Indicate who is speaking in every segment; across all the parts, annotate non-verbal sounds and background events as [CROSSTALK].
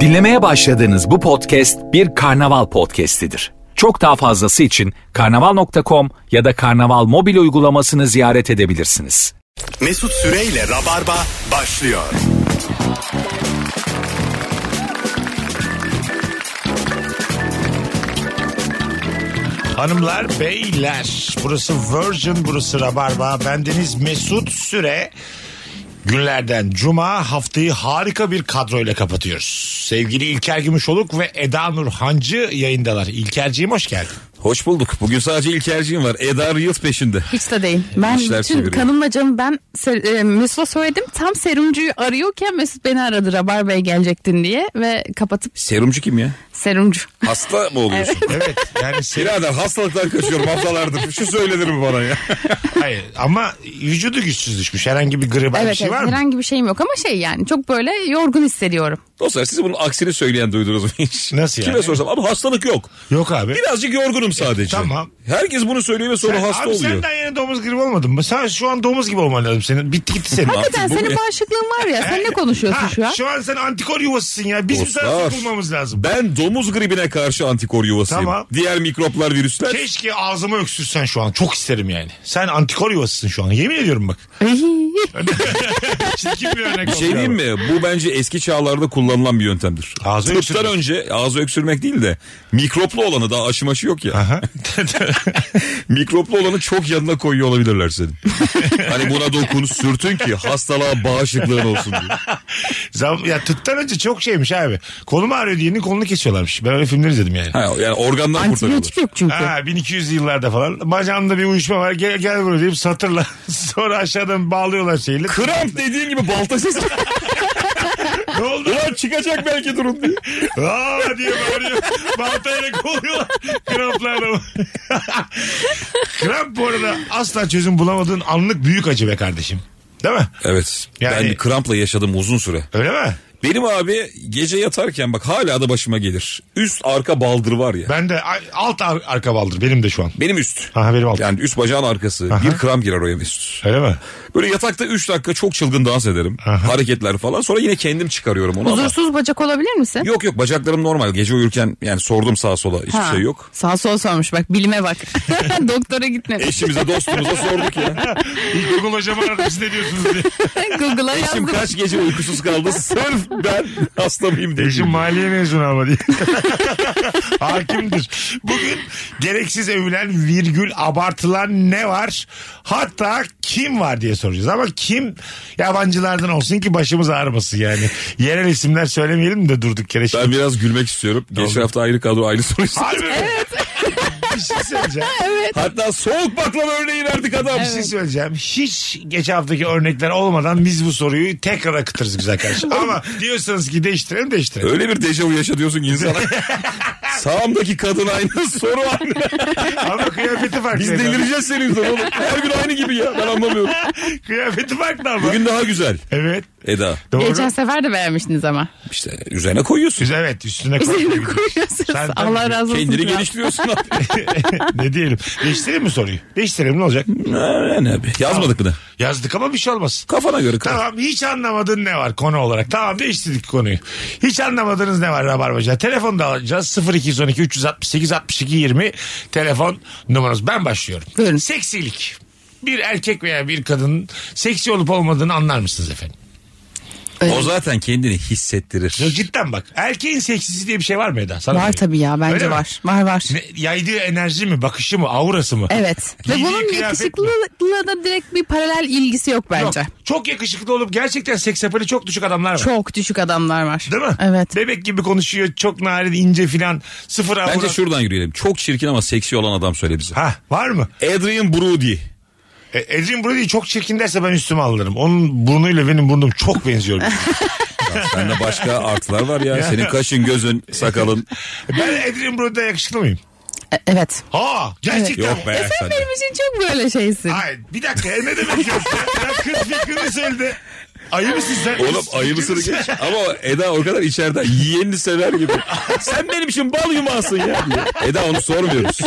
Speaker 1: Dinlemeye başladığınız bu podcast bir karnaval podcastidir. Çok daha fazlası için karnaval.com ya da karnaval mobil uygulamasını ziyaret edebilirsiniz.
Speaker 2: Mesut Süreyle Rabarba başlıyor.
Speaker 3: Hanımlar, beyler. Burası Virgin, burası Rabarba. Bendeniz Mesut Süre. Günlerden Cuma haftayı harika bir kadroyla kapatıyoruz. Sevgili İlker Gümüşoluk ve Eda Nur Hancı yayındalar. İlkerciğim hoş geldin.
Speaker 4: Hoş bulduk. Bugün sadece İlkerciğim var. Eda Reels peşinde.
Speaker 5: Hiç de değil. Ben
Speaker 4: İşler
Speaker 5: bütün
Speaker 4: çeviriyor.
Speaker 5: kanımla canım ben ser, e, Mesut'a söyledim. Tam serumcuyu arıyorken Mesut beni aradı. Rabarba'ya gelecektin diye ve kapatıp
Speaker 4: Serumcu kim ya?
Speaker 5: serumcu.
Speaker 4: Hasta mı oluyorsun?
Speaker 3: Evet yani sev-
Speaker 4: Birader hastalıktan kaçıyorum haftalardır. Şu söylenir mi bana ya?
Speaker 3: [LAUGHS] Hayır, ama vücudu güçsüz düşmüş. Herhangi bir gribal bir
Speaker 5: Evet,
Speaker 3: şey
Speaker 5: evet,
Speaker 3: var mı?
Speaker 5: herhangi bir şeyim yok ama şey yani çok böyle yorgun hissediyorum.
Speaker 4: Dostlar siz bunun aksini söyleyen duydunuz mu hiç?
Speaker 3: Nasıl yani?
Speaker 4: Kime sorsam ama hastalık yok.
Speaker 3: Yok abi.
Speaker 4: Birazcık yorgunum sadece.
Speaker 3: tamam.
Speaker 4: Herkes bunu söylüyor ve sonra
Speaker 3: Sen-
Speaker 4: hasta
Speaker 3: abi
Speaker 4: oluyor.
Speaker 3: senden yeni domuz gribi olmadın mı? Sen şu an domuz gibi olman lazım senin. Bitti gitti senin.
Speaker 4: Artık
Speaker 5: Hakikaten
Speaker 4: bu-
Speaker 5: senin bağışıklığın
Speaker 3: [LAUGHS]
Speaker 5: var ya. Sen ne konuşuyorsun
Speaker 3: Ha,
Speaker 5: şu an?
Speaker 3: şu an sen antikor yuvasısın ya. Biz bir sana
Speaker 4: Dostlar,
Speaker 3: sokulmamız lazım.
Speaker 4: Ben domuz gribine karşı antikor yuvasıyım.
Speaker 3: Tamam. Şey-
Speaker 4: Diğer mikroplar, virüsler.
Speaker 3: Keşke ağzıma öksürsen şu an. Çok isterim yani. Sen antikor yuvasısın şu an. Yemin ediyorum bak. [LAUGHS] Çirkin bir örnek
Speaker 4: Bir şey diyeyim mi? Bu bence eski çağlarda kullanılan bir yöntemdir.
Speaker 3: Ağzı
Speaker 4: Tıptan
Speaker 3: öksürmek.
Speaker 4: önce ağzı öksürmek değil de mikroplu olanı daha aşı maşı yok ya.
Speaker 3: Aha.
Speaker 4: [LAUGHS] Mikroplu olanı çok yanına koyuyor olabilirler [LAUGHS] senin. hani buna dokun sürtün ki hastalığa bağışıklığın olsun diye.
Speaker 3: Zam- ya tıptan önce çok şeymiş abi. Kolum ağrıyor diyenin kolunu kesiyorlarmış. Ben öyle filmler izledim yani.
Speaker 4: Ha, yani organdan kurtarıyorlar.
Speaker 5: Antibiyotik yok çünkü.
Speaker 3: Ha, 1200'lü yıllarda falan. Bacağımda bir uyuşma var. Gel, gel buraya deyip satırla. [LAUGHS] Sonra aşağıdan bağlıyorlar şeyle.
Speaker 4: Kramp dediğin gibi balta ses.
Speaker 3: ne oldu?
Speaker 4: Ulan çıkacak belki durum diye.
Speaker 3: Aa diye bağırıyor. Baltayla kovuyorlar. Kramplarla. Kramp bu arada asla çözüm bulamadığın anlık büyük acı be kardeşim. Değil mi?
Speaker 4: Evet.
Speaker 3: Yani-
Speaker 4: Ben krampla yaşadım uzun süre.
Speaker 3: Öyle mi?
Speaker 4: Benim abi gece yatarken bak hala da başıma gelir. Üst arka baldır var ya.
Speaker 3: Ben de ay- alt ar- arka baldır benim de şu an.
Speaker 4: Benim üst.
Speaker 3: Ha benim alt.
Speaker 4: Yani üst bacağın arkası.
Speaker 3: Aha.
Speaker 4: Bir kramp girer oraya üst.
Speaker 3: Öyle mi?
Speaker 4: Böyle yatakta 3 dakika çok çılgın dans ederim.
Speaker 3: Aha.
Speaker 4: Hareketler falan. Sonra yine kendim çıkarıyorum onu ama.
Speaker 5: Huzursuz bacak olabilir misin?
Speaker 4: Yok yok bacaklarım normal. Gece uyurken yani sordum sağa sola hiçbir
Speaker 5: Ha,
Speaker 4: şey yok.
Speaker 5: Sağ sol sormuş bak bilime bak. [LAUGHS] Doktora gitme.
Speaker 4: Eşimize dostumuza sorduk ya.
Speaker 3: İlkokul hocamı aradım siz ne diyorsunuz diye.
Speaker 5: [LAUGHS] Google'a
Speaker 4: Eşim
Speaker 5: yazdım.
Speaker 4: kaç gece uykusuz kaldı sırf ben hasta mıyım diye.
Speaker 3: Eşim maliye mezunu ama
Speaker 4: [LAUGHS]
Speaker 3: diye. Hakimdir. Bugün gereksiz övülen virgül abartılan ne var? Hatta kim var diye soracağız. Ama kim yabancılardan olsun ki başımız ağrımasın yani. Yerel isimler söylemeyelim de durduk yere.
Speaker 4: Ben biraz gülmek istiyorum. Geçen hafta ayrı kadro ayrı soru istedi.
Speaker 3: Harbi mi? Bir şey söyleyeceğim.
Speaker 4: [LAUGHS] Hatta soğuk baklava örneği verdik adam.
Speaker 3: Bir şey söyleyeceğim. Hiç geçen haftaki örnekler olmadan biz bu soruyu tekrar akıtırız güzel kardeşim. Ama diyorsanız ki değiştirelim değiştirelim.
Speaker 4: Öyle bir dejavu yaşatıyorsun ki insana. Sağımdaki kadın aynı soru aynı.
Speaker 3: Ama kıyafeti farklı.
Speaker 4: Biz delireceğiz senin yüzünden oğlum. Her gün aynı gibi ya ben anlamıyorum.
Speaker 3: Kıyafeti farklı ama.
Speaker 4: Bugün daha güzel
Speaker 3: Evet.
Speaker 4: Eda.
Speaker 3: Doğru.
Speaker 5: Geçen sefer de beğenmiştiniz ama.
Speaker 4: İşte üzerine koyuyorsun.
Speaker 3: Biz evet üstüne
Speaker 5: Üzerine
Speaker 3: koyduk. Sen
Speaker 5: koyuyorsunuz.
Speaker 3: tabii
Speaker 5: Allah razı olsun.
Speaker 4: Kendini
Speaker 5: kral.
Speaker 4: geliştiriyorsun [LAUGHS] abi.
Speaker 3: [LAUGHS] ne diyelim. Değiştirelim mi soruyu? Değiştirelim ne olacak?
Speaker 4: Yani abi. Yazmadık mı da?
Speaker 3: Yazdık ama bir şey olmaz.
Speaker 4: Kafana göre. kal.
Speaker 3: Tamam hiç anlamadın ne var konu olarak. Tamam değiştirdik konuyu. Hiç anlamadınız ne var Rabarbacı. Telefon da alacağız. 0212 368 62 20 telefon numaranız. Ben başlıyorum.
Speaker 5: Buyurun.
Speaker 3: Seksilik. Bir erkek veya bir kadının seksi olup olmadığını anlar mısınız efendim?
Speaker 4: O zaten kendini hissettirir.
Speaker 3: Ya cidden bak. Erkeğin seksisi diye bir şey var mı Eda? Sana
Speaker 5: Var
Speaker 3: sorayım.
Speaker 5: tabii ya
Speaker 3: Öyle
Speaker 5: bence
Speaker 3: mi?
Speaker 5: var. Var var.
Speaker 3: Ne- yaydığı enerji mi, bakışı mı, aurası mı?
Speaker 5: Evet. Ve
Speaker 3: Giydiği
Speaker 5: bunun
Speaker 3: kıyafet mi?
Speaker 5: yakışıklılığına da direkt bir paralel ilgisi yok
Speaker 3: Yok,
Speaker 5: bence.
Speaker 3: çok yakışıklı olup gerçekten seksapeli çok düşük adamlar var.
Speaker 5: Çok düşük adamlar var.
Speaker 3: Değil mi?
Speaker 5: Evet.
Speaker 3: Bebek gibi konuşuyor, çok narin, ince filan, sıfır avra.
Speaker 4: Bence şuradan yürüyelim. Çok çirkin ama seksi olan adam söyle bize.
Speaker 3: Ha var mı?
Speaker 4: Adrian Brody.
Speaker 3: E, Adrian Brody çok çirkin derse ben üstüme alırım. Onun burnuyla benim burnum çok
Speaker 5: [LAUGHS]
Speaker 3: benziyor.
Speaker 4: Sende başka artılar var ya. Senin kaşın, gözün, sakalın.
Speaker 3: ben Adrian Brody'den yakışıklı mıyım?
Speaker 5: E- evet. E
Speaker 3: Ha gerçekten.
Speaker 4: Yok be.
Speaker 5: Sen
Speaker 4: sen de.
Speaker 5: benim için çok böyle şeysin.
Speaker 3: Hayır bir dakika e, ne demek ya? Ya kız fikrini söyledi. Ayı mısın sen?
Speaker 4: Oğlum ayıbısını
Speaker 3: Fikrini- [LAUGHS]
Speaker 4: geç. Ama Eda o kadar içeriden yiyenini sever gibi. Sen benim için bal yumağısın ya diye. Eda onu sormuyoruz.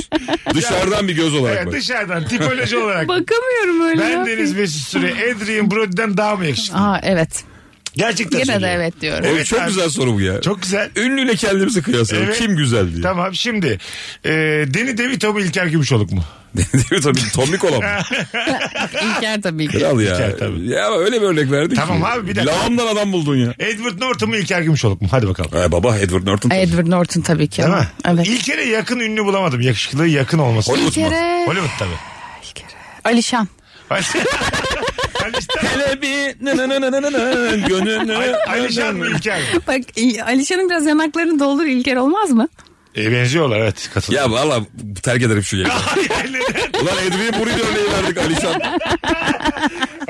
Speaker 4: Dışarıdan bir göz olarak
Speaker 3: Evet,
Speaker 4: bak.
Speaker 3: dışarıden tipoloji olarak.
Speaker 5: Bakamıyorum öyle.
Speaker 3: ben
Speaker 5: ya.
Speaker 3: Deniz Mesut Süre Adrian Brody'den daha mı yakışıklı?
Speaker 5: Aa evet.
Speaker 3: Gerçekten
Speaker 5: Gene de
Speaker 3: söylüyorum.
Speaker 5: evet
Speaker 3: [LAUGHS]
Speaker 5: diyorum.
Speaker 4: Oğlum
Speaker 3: Evet
Speaker 4: çok
Speaker 3: abi.
Speaker 4: güzel soru bu ya.
Speaker 3: Çok güzel.
Speaker 4: Ünlüyle kendimizi kıyaslayalım.
Speaker 3: Evet.
Speaker 4: Kim güzel diye. [LAUGHS] Tamam.
Speaker 3: Tamam şimdi e, Deni Devito mu İlker Gümüşoluk mu?
Speaker 4: tabii Tommy Kolam.
Speaker 5: İlker tabii ki.
Speaker 4: Kral ya.
Speaker 3: İlker tabii.
Speaker 4: Ya öyle bir örnek verdik
Speaker 3: Tamam
Speaker 4: ki.
Speaker 3: abi, bir dakika.
Speaker 4: Lağımdan adam buldun ya.
Speaker 3: Edward Norton mu İlker Gümüşoluk mu? Hadi bakalım.
Speaker 4: Ay baba Edward Norton.
Speaker 5: Edward Norton tabii ki.
Speaker 3: Değil mi?
Speaker 5: Evet.
Speaker 3: İlker'e yakın ünlü bulamadım. Yakışıklığı yakın olması.
Speaker 4: Hollywood mu?
Speaker 5: İlker'e-
Speaker 3: Hollywood tabii.
Speaker 5: İlker'e. Alişan.
Speaker 3: Hani işte- [LAUGHS]
Speaker 4: Hele bir nı nı nı nı nı nı nı, gönlünü-
Speaker 3: Alişan mı İlker mi?
Speaker 5: Bak İ- Alişan'ın biraz yanaklarını doldur İlker olmaz mı?
Speaker 3: E, benziyorlar evet katılıyorum.
Speaker 4: Ya valla terk ederim şu
Speaker 3: [LAUGHS]
Speaker 4: yeri.
Speaker 3: Hayır, neden?
Speaker 4: Ulan Edwin Buray'ı örneği verdik Alişan.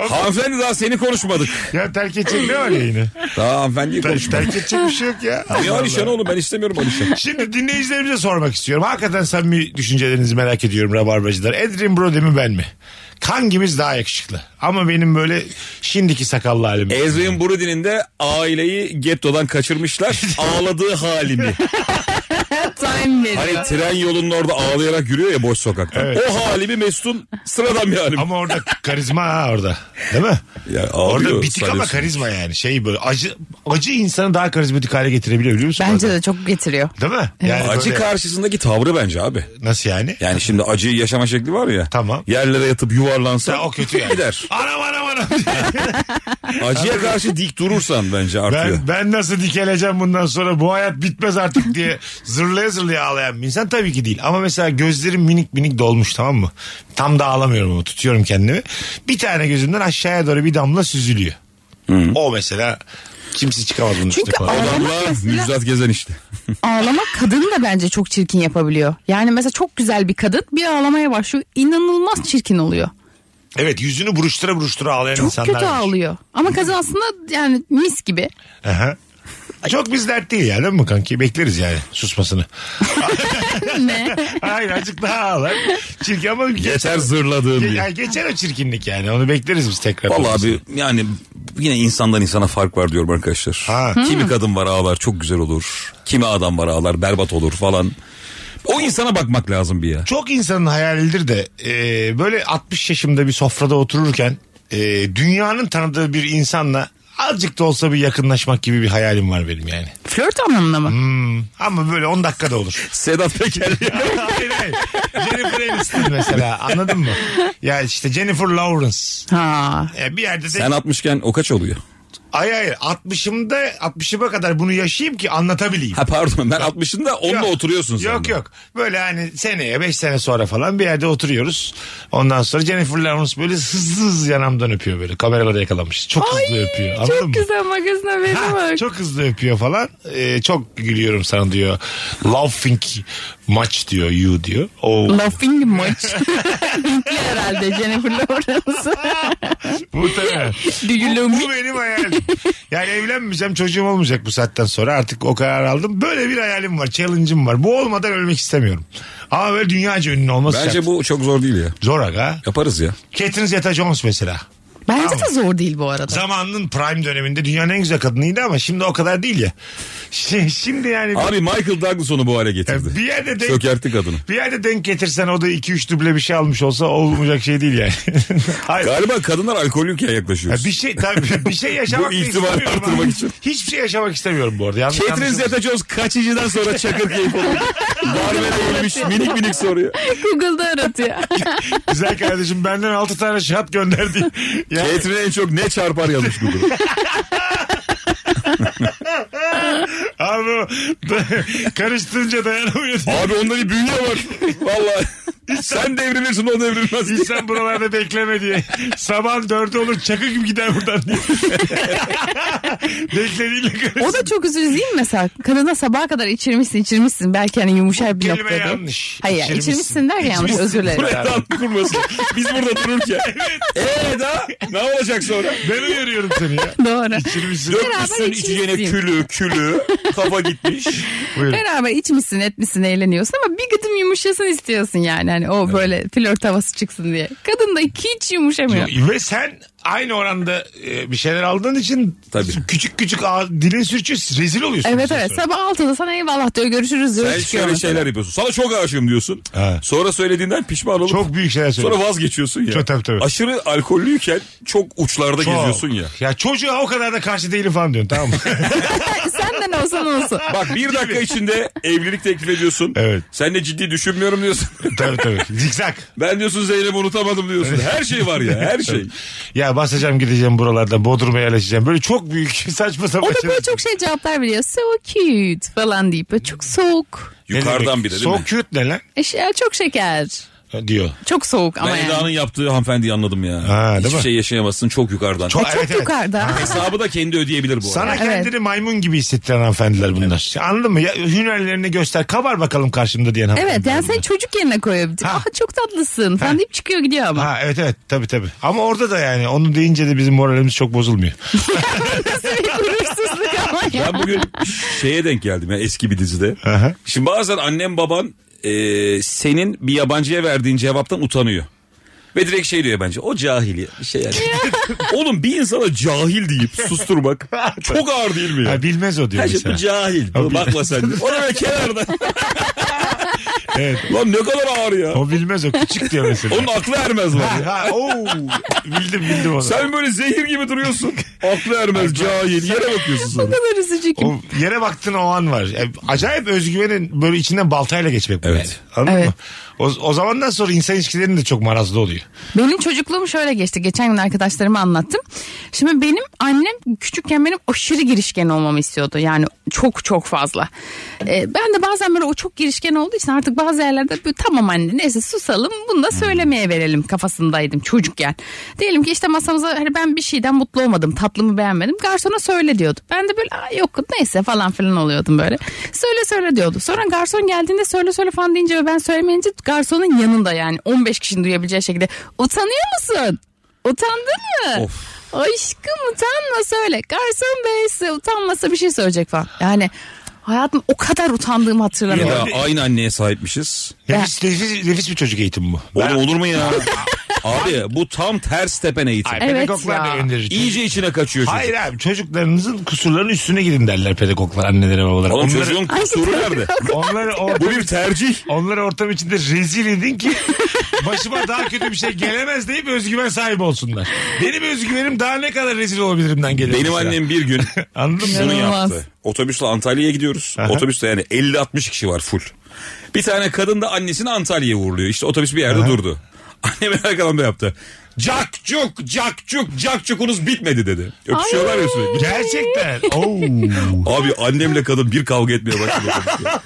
Speaker 4: hanımefendi daha seni konuşmadık.
Speaker 3: ya terk edecek ne var yayını?
Speaker 4: Daha hanımefendiyi
Speaker 3: Ter-
Speaker 4: konuşmadık.
Speaker 3: terk edecek bir şey yok ya. Allah
Speaker 4: Ya
Speaker 3: Allah.
Speaker 4: Alişan oğlum ben istemiyorum Alişan.
Speaker 3: Şimdi dinleyicilerimize sormak istiyorum. Hakikaten samimi düşüncelerinizi merak ediyorum Rabarbacılar. Edrin Brody mi ben mi? Hangimiz daha yakışıklı? Ama benim böyle şimdiki sakallı halim.
Speaker 4: Ezrin Burudin'in de aileyi
Speaker 3: [LAUGHS]
Speaker 4: gettodan kaçırmışlar. Ağladığı halini.
Speaker 5: Time veriyor.
Speaker 4: Hani tren yolunun orada ağlayarak yürüyor ya boş sokakta.
Speaker 3: Evet.
Speaker 4: O halimi Mesut'un sıradan bir halim.
Speaker 3: Ama orada karizma ha orada. Değil mi?
Speaker 4: Ya ağlıyor,
Speaker 3: orada bitik ama
Speaker 4: sanıyorsun.
Speaker 3: karizma yani. Şey böyle acı acı insanı daha karizmatik hale getirebiliyor biliyor musun?
Speaker 5: Bence
Speaker 3: orada?
Speaker 5: de çok getiriyor.
Speaker 3: Değil mi? Yani
Speaker 4: Acı
Speaker 3: böyle-
Speaker 4: karşısındaki tavrı bence abi.
Speaker 3: Nasıl yani?
Speaker 4: Yani şimdi acıyı yaşama şekli var ya.
Speaker 3: Tamam.
Speaker 4: Yerlere yatıp yuvarlansa
Speaker 3: Ya o kötü yani.
Speaker 4: gider.
Speaker 3: Anam anam anam.
Speaker 4: Acıya karşı dik durursan bence artıyor.
Speaker 3: ben, ben nasıl dikeleceğim bundan sonra bu hayat bitmez artık diye zırlaya zırlaya ağlayan bir insan tabii ki değil. Ama mesela gözlerim minik minik dolmuş tamam mı? Tam da ağlamıyorum ama tutuyorum kendimi. Bir tane gözümden aşağıya doğru bir damla süzülüyor. O mesela kimse çıkamaz bunun üstüne
Speaker 5: Çünkü
Speaker 3: kolay.
Speaker 5: ağ-
Speaker 4: Adamla
Speaker 5: Ağlamak mesela-
Speaker 4: Müjdat Gezen işte.
Speaker 5: Ağlamak kadını da bence çok çirkin yapabiliyor. Yani mesela çok güzel bir kadın bir ağlamaya başlıyor. İnanılmaz çirkin oluyor.
Speaker 3: Evet yüzünü buruştura buruştura ağlayan
Speaker 5: Çok
Speaker 3: insanlar
Speaker 5: kötü
Speaker 3: var.
Speaker 5: ağlıyor. Ama kadın aslında yani mis gibi.
Speaker 3: Aha. Çok biz dert değil yani değil mi kanki? Bekleriz yani susmasını.
Speaker 5: [LAUGHS] ne?
Speaker 3: Hayır azıcık daha ağlar. Çirkin ama
Speaker 4: Yeter zırladığım
Speaker 3: Ge- ya
Speaker 4: diye.
Speaker 3: geçer o çirkinlik yani. Onu bekleriz biz tekrar.
Speaker 4: Vallahi abi yani yine insandan insana fark var diyorum arkadaşlar.
Speaker 3: Ha.
Speaker 4: Kimi kadın var ağlar çok güzel olur. Kimi adam var ağlar berbat olur falan. O insana bakmak lazım bir ya.
Speaker 3: Çok insanın hayalidir de e, böyle 60 yaşımda bir sofrada otururken e, dünyanın tanıdığı bir insanla azıcık da olsa bir yakınlaşmak gibi bir hayalim var benim yani.
Speaker 5: Flört anlamında mı?
Speaker 3: Hmm. Ama böyle 10 dakikada olur.
Speaker 4: Sedat
Speaker 3: [LAUGHS]
Speaker 4: Peker.
Speaker 3: hayır hayır. Jennifer Aniston mesela anladın mı? Ya işte Jennifer Lawrence.
Speaker 5: Ha.
Speaker 3: Ya bir yerde de
Speaker 4: Sen atmışken o kaç oluyor?
Speaker 3: ay hayır 60'ımda 60'ıma kadar bunu yaşayayım ki anlatabileyim.
Speaker 4: Ha pardon ben 60'ında onunla
Speaker 3: Yok.
Speaker 4: oturuyorsun sen.
Speaker 3: Yok
Speaker 4: de.
Speaker 3: yok. Böyle hani seneye 5 sene sonra falan bir yerde oturuyoruz. Ondan sonra Jennifer Lawrence böyle hızlı hızlı yanamdan öpüyor böyle. Kameralara yakalanmış. Çok hızlı öpüyor. Anladın mı?
Speaker 5: Çok güzel magazin haberi
Speaker 3: Ha,
Speaker 5: var.
Speaker 3: çok hızlı öpüyor falan. Ee, çok gülüyorum sana diyor. Laughing much diyor you diyor. Oh. Oo.
Speaker 5: Laughing much. Hintli herhalde Jennifer Lawrence.
Speaker 3: Muhtemelen.
Speaker 5: Do you love
Speaker 3: Bu
Speaker 5: me?
Speaker 3: benim hayalim. Yani evlenmeyeceğim çocuğum olmayacak bu saatten sonra. Artık o karar aldım. Böyle bir hayalim var. Challenge'ım var. Bu olmadan ölmek istemiyorum. Ama böyle dünyaca ünlü olması şart.
Speaker 4: Bence bu çok zor değil ya.
Speaker 3: Zor aga.
Speaker 4: Yaparız ya.
Speaker 3: Catherine Zeta-Jones mesela.
Speaker 5: Bence de zor değil bu arada.
Speaker 3: Zamanının prime döneminde dünyanın en güzel kadınıydı ama şimdi o kadar değil ya. [LAUGHS] Şi- Şimdi yani
Speaker 4: Abi Michael Douglas onu bu hale getirdi.
Speaker 3: E, bir yerde denk,
Speaker 4: Sökertti kadını.
Speaker 3: bir yerde denk getirsen o da 2-3 duble bir şey almış olsa olmayacak şey değil yani. [LAUGHS] Hayır.
Speaker 4: Galiba kadınlar alkolüyken
Speaker 3: Ya
Speaker 4: yaklaşıyoruz.
Speaker 3: bir şey tabii bir
Speaker 4: [LAUGHS]
Speaker 3: şey yaşamak
Speaker 4: Bu
Speaker 3: da
Speaker 4: itibarı
Speaker 3: istemiyorum
Speaker 4: artırmak
Speaker 3: abi.
Speaker 4: için.
Speaker 3: Hiçbir şey yaşamak istemiyorum bu arada. Yanlış
Speaker 4: Catherine
Speaker 3: anlaşılmasın.
Speaker 4: Zeta-Jones kaçıncıdan sonra çakır
Speaker 3: [LAUGHS]
Speaker 4: keyif oldu. Barbara girmiş minik minik soruyor.
Speaker 5: Google'da aratıyor.
Speaker 3: Güzel kardeşim benden 6 tane şat gönderdi.
Speaker 4: [LAUGHS]
Speaker 3: Ya,
Speaker 4: Catherine en çok ne çarpar yazmış Google.
Speaker 3: abi o- karıştırınca dayanamıyor.
Speaker 4: Abi onda bir bünye var. Valla. Sen devrilirsin o devrilmez. diye.
Speaker 3: İnsan buralarda bekleme diye. Sabahın dördü olur çakı gibi gider buradan
Speaker 4: [LAUGHS]
Speaker 3: diye. Beklediğinle karıştı.
Speaker 5: O da çok üzücü değil mi mesela? Kadına sabaha kadar içirmişsin içirmişsin. Belki hani yumuşar bir
Speaker 3: kelime
Speaker 5: noktada.
Speaker 3: yanlış.
Speaker 5: Hayır içirmişsin,
Speaker 3: İçirmişsin.
Speaker 5: içirmişsin der ya yanlış özür dilerim.
Speaker 4: Buraya da kurmasın. Biz burada dururken. Eee da ne olacak sonra?
Speaker 3: Ben uyarıyorum seni ya.
Speaker 5: Doğru.
Speaker 3: İçirmişsin.
Speaker 4: Dökmüşsün
Speaker 5: içmişsin.
Speaker 4: içeceğine külü külü. Kafa gitmiş.
Speaker 3: Buyurun.
Speaker 5: Beraber içmişsin etmişsin eğleniyorsun ama bir gıdım yumuşasın istiyorsun yani. Hani o böyle flört havası çıksın diye. Kadın da hiç yumuşamıyor.
Speaker 3: Ve sen aynı oranda e, bir şeyler aldığın için
Speaker 4: Tabii.
Speaker 3: küçük küçük ağ- dilin sürçüyor rezil oluyorsun. şey
Speaker 5: Evet
Speaker 3: bize
Speaker 5: evet
Speaker 3: sonra. şey-
Speaker 5: sabah 6'da sana eyvallah diyor görüşürüz diyor.
Speaker 4: Sen
Speaker 5: çıkıyor
Speaker 4: şöyle
Speaker 5: mesela.
Speaker 4: şeyler yapıyorsun. Sana çok aşığım diyorsun.
Speaker 3: He.
Speaker 4: Sonra söylediğinden pişman olup
Speaker 3: Çok büyük şeyler
Speaker 4: sonra
Speaker 3: söylüyorsun.
Speaker 4: vazgeçiyorsun ya.
Speaker 3: Çok, tabii, tabii.
Speaker 4: Aşırı alkollüyken çok uçlarda
Speaker 3: Çok.
Speaker 4: geziyorsun ya.
Speaker 3: Ya çocuğa o kadar da karşı değilim falan diyorsun
Speaker 4: [LAUGHS]
Speaker 3: tamam mı?
Speaker 5: [LAUGHS] Sen de ne olsa ne olsun.
Speaker 4: Bak bir dakika içinde evlilik teklif ediyorsun.
Speaker 3: Evet.
Speaker 4: Sen de ciddi düşünmüyorum diyorsun. [LAUGHS]
Speaker 3: tabii tabii. Zikzak.
Speaker 4: ben diyorsun Zeynep'i unutamadım diyorsun. Her şey var ya her şey.
Speaker 3: Ya basacağım gideceğim buralardan Bodrum'a yerleşeceğim. Böyle çok büyük [LAUGHS] saçma sapan
Speaker 5: O da böyle
Speaker 3: şeyler.
Speaker 5: çok şey cevaplar veriyor. So cute falan deyip böyle çok soğuk.
Speaker 3: Ne demek?
Speaker 4: Yukarıdan bir de değil
Speaker 3: So
Speaker 4: mi?
Speaker 3: cute ne lan?
Speaker 5: Eşya çok şeker.
Speaker 3: Ha, Diyor.
Speaker 5: Çok soğuk ama
Speaker 4: Ben
Speaker 3: [LAUGHS]
Speaker 5: yani.
Speaker 4: Eda'nın yaptığı hanımefendiyi anladım ya.
Speaker 3: Ha, değil
Speaker 4: Hiçbir
Speaker 3: mi?
Speaker 4: şey yaşayamazsın çok yukarıdan.
Speaker 5: E,
Speaker 3: Çok-
Speaker 5: çok
Speaker 3: Evet, evet.
Speaker 5: yukarıda.
Speaker 4: Hesabı da kendi ödeyebilir bu
Speaker 3: Sana
Speaker 4: arada.
Speaker 3: kendini maymun gibi hissettiren hanımefendiler bunlar. Anladın mı? Ya, hünerlerini göster. Kabar bakalım karşımda diyen
Speaker 5: Evet
Speaker 3: hanımefendiler.
Speaker 5: yani seni çocuk yerine koyabilir.
Speaker 3: Ha.
Speaker 5: Aha çok tatlısın falan deyip çıkıyor gidiyor [LAUGHS] ama.
Speaker 3: Ha evet evet tabii tabii. Ama orada da yani onu deyince de bizim moralimiz çok
Speaker 4: [LAUGHS]
Speaker 3: bozulmuyor.
Speaker 5: Nasıl bir gurursuzluk ama ya.
Speaker 4: Ben bugün şeye denk geldim ya eski bir dizide.
Speaker 3: Aha.
Speaker 4: Şimdi bazen annem baban e, senin bir yabancıya verdiğin cevaptan utanıyor. Ve direkt şey diyor bence o cahili şey
Speaker 3: [LAUGHS]
Speaker 4: yani. Oğlum bir insana cahil deyip
Speaker 3: [LAUGHS]
Speaker 4: susturmak çok ağır değil mi ya?
Speaker 3: Ha, bilmez o diyor
Speaker 4: Her şey bu
Speaker 3: mesela.
Speaker 4: cahil.
Speaker 3: [LAUGHS]
Speaker 4: Bakma sen. O da böyle kenarda. Lan ne kadar ağır ya.
Speaker 3: O bilmez o küçük diyor mesela.
Speaker 4: Onun aklı ermez lan.
Speaker 3: Ha,
Speaker 4: ya.
Speaker 3: ha, oo. bildim bildim onu.
Speaker 4: Sen böyle zehir gibi duruyorsun. Aklı ermez cahil. Yere bakıyorsun
Speaker 5: O
Speaker 4: sonra.
Speaker 5: kadar üzücü ki.
Speaker 3: O yere baktığın o an var. E, Acayip özgüvenin böyle içinden baltayla geçmek bu
Speaker 4: Evet.
Speaker 3: yani. Anladın
Speaker 5: Evet.
Speaker 3: mı? O, o zamandan sonra insan ilişkilerinin de çok marazlı oluyor.
Speaker 5: Benim çocukluğum şöyle geçti. Geçen gün arkadaşlarıma anlattım. Şimdi benim annem küçükken benim aşırı girişken olmamı istiyordu. Yani çok çok fazla. Ee, ben de bazen böyle o çok girişken olduğu için artık bazı yerlerde böyle, tamam anne neyse susalım bunu da söylemeye verelim kafasındaydım çocukken. Diyelim ki işte masamıza hani ben bir şeyden mutlu olmadım tatlımı beğenmedim garsona söyle diyordu. Ben de böyle "Aa, yok neyse falan filan oluyordum böyle. Söyle söyle diyordu. Sonra garson geldiğinde söyle söyle falan deyince ve ben söylemeyince garsonun yanında yani 15 kişinin duyabileceği şekilde utanıyor musun? Utandın mı?
Speaker 4: Of.
Speaker 5: Aşkım utanma söyle. Garson bey size utanmasa bir şey söyleyecek falan. Yani hayatım o kadar utandığımı
Speaker 4: Bir
Speaker 5: hatırlamıyorum.
Speaker 4: daha aynı anneye sahipmişiz.
Speaker 3: Nefis, nefis, nefis bir çocuk eğitimi bu.
Speaker 4: Oğlum olur mu ya? Abi bu tam ters tepen eğitim.
Speaker 5: Evet
Speaker 3: pedagoglar
Speaker 5: ya.
Speaker 3: da gönderir.
Speaker 4: İyice içine kaçıyor çocuk.
Speaker 3: Hayır abi çocuklarınızın kusurlarının üstüne gidin derler pedagoglar annelere babalara.
Speaker 4: Oğlum
Speaker 3: onları,
Speaker 4: çocuğun kusuru nerede? [LAUGHS]
Speaker 3: onları, or-
Speaker 4: Bu bir
Speaker 3: [LAUGHS]
Speaker 4: tercih.
Speaker 3: onları ortam içinde rezil edin
Speaker 4: [LAUGHS]
Speaker 3: ki başıma daha kötü bir şey gelemez deyip özgüven sahibi olsunlar. Benim özgüvenim daha ne kadar rezil olabilirimden geliyor.
Speaker 4: Benim
Speaker 3: mesela.
Speaker 4: annem bir gün
Speaker 3: [LAUGHS] Anladın mı?
Speaker 4: şunu
Speaker 5: İnanılmaz.
Speaker 4: yaptı. Otobüsle Antalya'ya gidiyoruz.
Speaker 3: Aha.
Speaker 4: Otobüste yani 50-60 kişi var full. Bir tane kadın da annesini Antalya'ya uğurluyor. İşte otobüs bir yerde durdu. [LAUGHS] Annem arkadan da yaptı. Cakçuk, cakçuk, cakçukunuz bitmedi dedi. Öpüşüyorlar ya sürekli.
Speaker 3: Gerçekten. Oo.
Speaker 4: Abi annemle kadın bir kavga
Speaker 3: [LAUGHS]
Speaker 4: etmeye başladı.